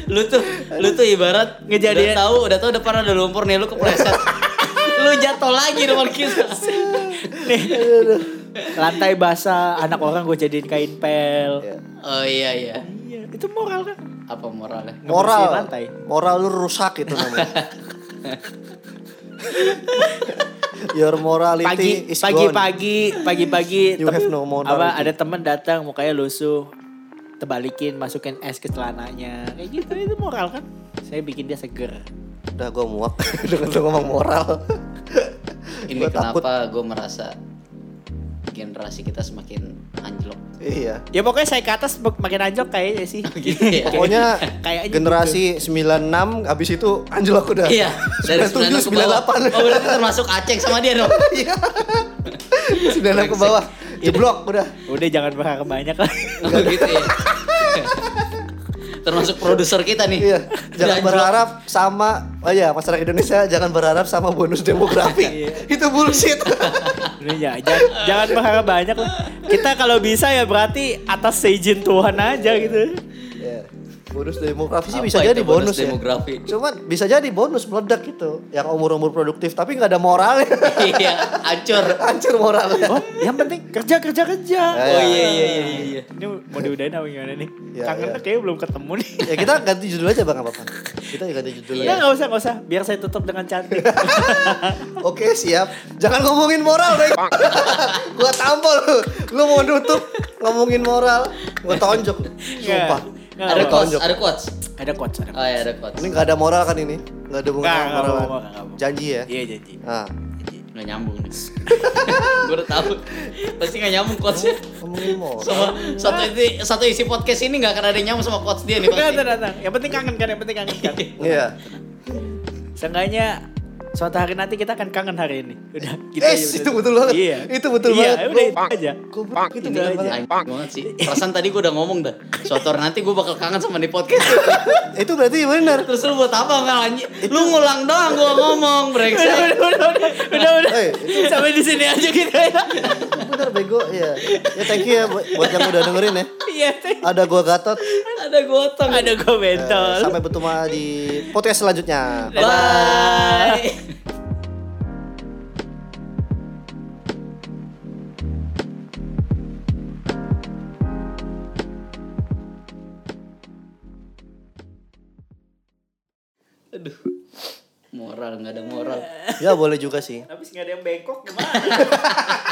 [SPEAKER 3] lu tuh lu tuh ibarat
[SPEAKER 1] Ngejadian-
[SPEAKER 3] udah tahu udah tahu depan ada lumpur nih lu kepleset lu jatuh lagi depan kita
[SPEAKER 1] Lantai basah, anak orang gue jadiin kain pel.
[SPEAKER 2] Ya.
[SPEAKER 3] oh iya iya
[SPEAKER 1] Iya, itu moral kan?
[SPEAKER 3] apa moralnya
[SPEAKER 2] Moral.
[SPEAKER 1] Ngebersihin lantai.
[SPEAKER 2] Moral lu rusak itu namanya. Your morality
[SPEAKER 1] pagi
[SPEAKER 2] is
[SPEAKER 1] pagi
[SPEAKER 2] gone.
[SPEAKER 1] pagi pagi pagi
[SPEAKER 2] You
[SPEAKER 1] tem-
[SPEAKER 2] have no moral
[SPEAKER 1] apa
[SPEAKER 2] itu.
[SPEAKER 1] ada teman datang mukanya lusuh tebalikin masukin es ke celananya kayak gitu itu moral kan saya bikin dia seger
[SPEAKER 2] Udah gua muak dengan lu ngomong moral.
[SPEAKER 3] ini
[SPEAKER 2] Gua takut.
[SPEAKER 3] kenapa gue merasa generasi kita semakin anjlok
[SPEAKER 2] Iya.
[SPEAKER 1] ya pokoknya saya ke atas mak- makin anjlok kayaknya sih
[SPEAKER 3] Gitu ya?
[SPEAKER 2] Pokoknya
[SPEAKER 1] Kayaknya gitu.
[SPEAKER 2] generasi 96 abis itu anjlok udah.
[SPEAKER 3] gitu. iya dari
[SPEAKER 2] 97
[SPEAKER 3] 96 ke bawah.
[SPEAKER 2] 98.
[SPEAKER 3] oh berarti termasuk aceng sama dia dong
[SPEAKER 2] Iya. 96 ke
[SPEAKER 3] Iya,
[SPEAKER 2] bawah. Jeblok udah.
[SPEAKER 1] udah jangan berharap banyak lah
[SPEAKER 3] Oh, gitu ya. Termasuk produser kita nih.
[SPEAKER 2] Iya.
[SPEAKER 3] Udah
[SPEAKER 2] Jangan
[SPEAKER 3] anjlok.
[SPEAKER 2] berharap sama oh ya masyarakat Indonesia jangan berharap sama bonus demografi.
[SPEAKER 3] Iya.
[SPEAKER 2] itu bullshit.
[SPEAKER 1] Udah, ya, jangan, jangan berharap banyak lah kita kalau bisa ya berarti atas seizin Tuhan aja gitu
[SPEAKER 2] Iya. Bonus demografi sih
[SPEAKER 3] Apa
[SPEAKER 2] bisa
[SPEAKER 3] itu
[SPEAKER 2] jadi bonus,
[SPEAKER 3] bonus
[SPEAKER 2] ya.
[SPEAKER 3] demografi?
[SPEAKER 2] Cuman bisa jadi bonus meledak gitu. Yang umur-umur produktif tapi nggak ada moralnya.
[SPEAKER 3] Iya, hancur.
[SPEAKER 2] Hancur moralnya.
[SPEAKER 1] oh yang penting kerja kerja kerja
[SPEAKER 3] Oh iya iya iya iya, iya.
[SPEAKER 1] ini mau diudahin apa gimana nih
[SPEAKER 2] Ya,
[SPEAKER 1] kangen
[SPEAKER 2] ya.
[SPEAKER 1] kayaknya belum ketemu nih
[SPEAKER 2] ya kita ganti judul aja Bang nggak apa-apa. Kita ya ganti judul
[SPEAKER 3] Iya.
[SPEAKER 1] Ya
[SPEAKER 2] aja.
[SPEAKER 1] nggak usah nggak usah, biar saya tutup dengan cantik. Iya.
[SPEAKER 2] Oke siap. Jangan ngomongin moral deh. gua tampol lu. Lu mau nutup ngomongin moral. Gua tonjok.
[SPEAKER 1] Iya.
[SPEAKER 2] Sumpah.
[SPEAKER 1] Nggak,
[SPEAKER 3] Ada
[SPEAKER 1] nggak.
[SPEAKER 3] quotes,
[SPEAKER 2] Tonjok.
[SPEAKER 3] ada quotes.
[SPEAKER 1] ada coach, ada
[SPEAKER 3] Oh
[SPEAKER 1] coach.
[SPEAKER 3] iya, ada quotes.
[SPEAKER 2] Ini gak ada moral kan ini? Gak ada hubungan
[SPEAKER 1] Nggak,
[SPEAKER 2] sama
[SPEAKER 1] nggak
[SPEAKER 2] moral. kan?
[SPEAKER 1] mau, nggak mau.
[SPEAKER 2] Janji ya.
[SPEAKER 1] Iya janji.
[SPEAKER 2] Nah,
[SPEAKER 3] Nggak nyambung nih. Gue udah tahu. Pasti nggak nyambung quotesnya.
[SPEAKER 2] ngomongin moral.
[SPEAKER 3] Sama satu isi, satu isi podcast ini nggak akan ada yang nyambung sama quotes dia nih.
[SPEAKER 1] Nggak,
[SPEAKER 3] Pasti.
[SPEAKER 1] ntar, ntar. Yang penting kangen kan, yang penting kangen kan.
[SPEAKER 2] Iya.
[SPEAKER 1] Seenggaknya suatu hari nanti kita akan kangen hari ini. Udah, gitu
[SPEAKER 2] Eh,
[SPEAKER 1] aja, udah.
[SPEAKER 2] itu betul banget.
[SPEAKER 1] Iya.
[SPEAKER 2] Itu betul
[SPEAKER 1] iya,
[SPEAKER 2] banget. Oh,
[SPEAKER 1] Udah,
[SPEAKER 2] Gua-
[SPEAKER 1] itu aja.
[SPEAKER 2] Goblok itu
[SPEAKER 1] Ini
[SPEAKER 2] bener
[SPEAKER 1] aja.
[SPEAKER 2] banget.
[SPEAKER 3] Anjing banget sih. Perasaan tadi gue udah ngomong dah. Suatu hari nanti gue bakal kangen sama di podcast.
[SPEAKER 2] Itu berarti bener.
[SPEAKER 3] Terus lu buat apa nggak anjing? Lu ngulang doang gue ngomong,
[SPEAKER 1] Udah,
[SPEAKER 3] brengsek.
[SPEAKER 1] udah, udah, udah, udah, udah.
[SPEAKER 2] Eh,
[SPEAKER 1] Sampai di sini aja kita ya.
[SPEAKER 2] Bener bego ya. Ya thank you ya buat buat yang udah dengerin ya.
[SPEAKER 1] Iya,
[SPEAKER 2] Ada gua Gatot.
[SPEAKER 3] Ada gotong.
[SPEAKER 1] ada
[SPEAKER 2] Eh,
[SPEAKER 1] komentar.
[SPEAKER 2] Sampai bertemu di podcast selanjutnya.
[SPEAKER 3] Bye. Aduh. Moral nggak ada moral.
[SPEAKER 2] Ya boleh juga sih.
[SPEAKER 1] Habis nggak ada yang bengkok gimana?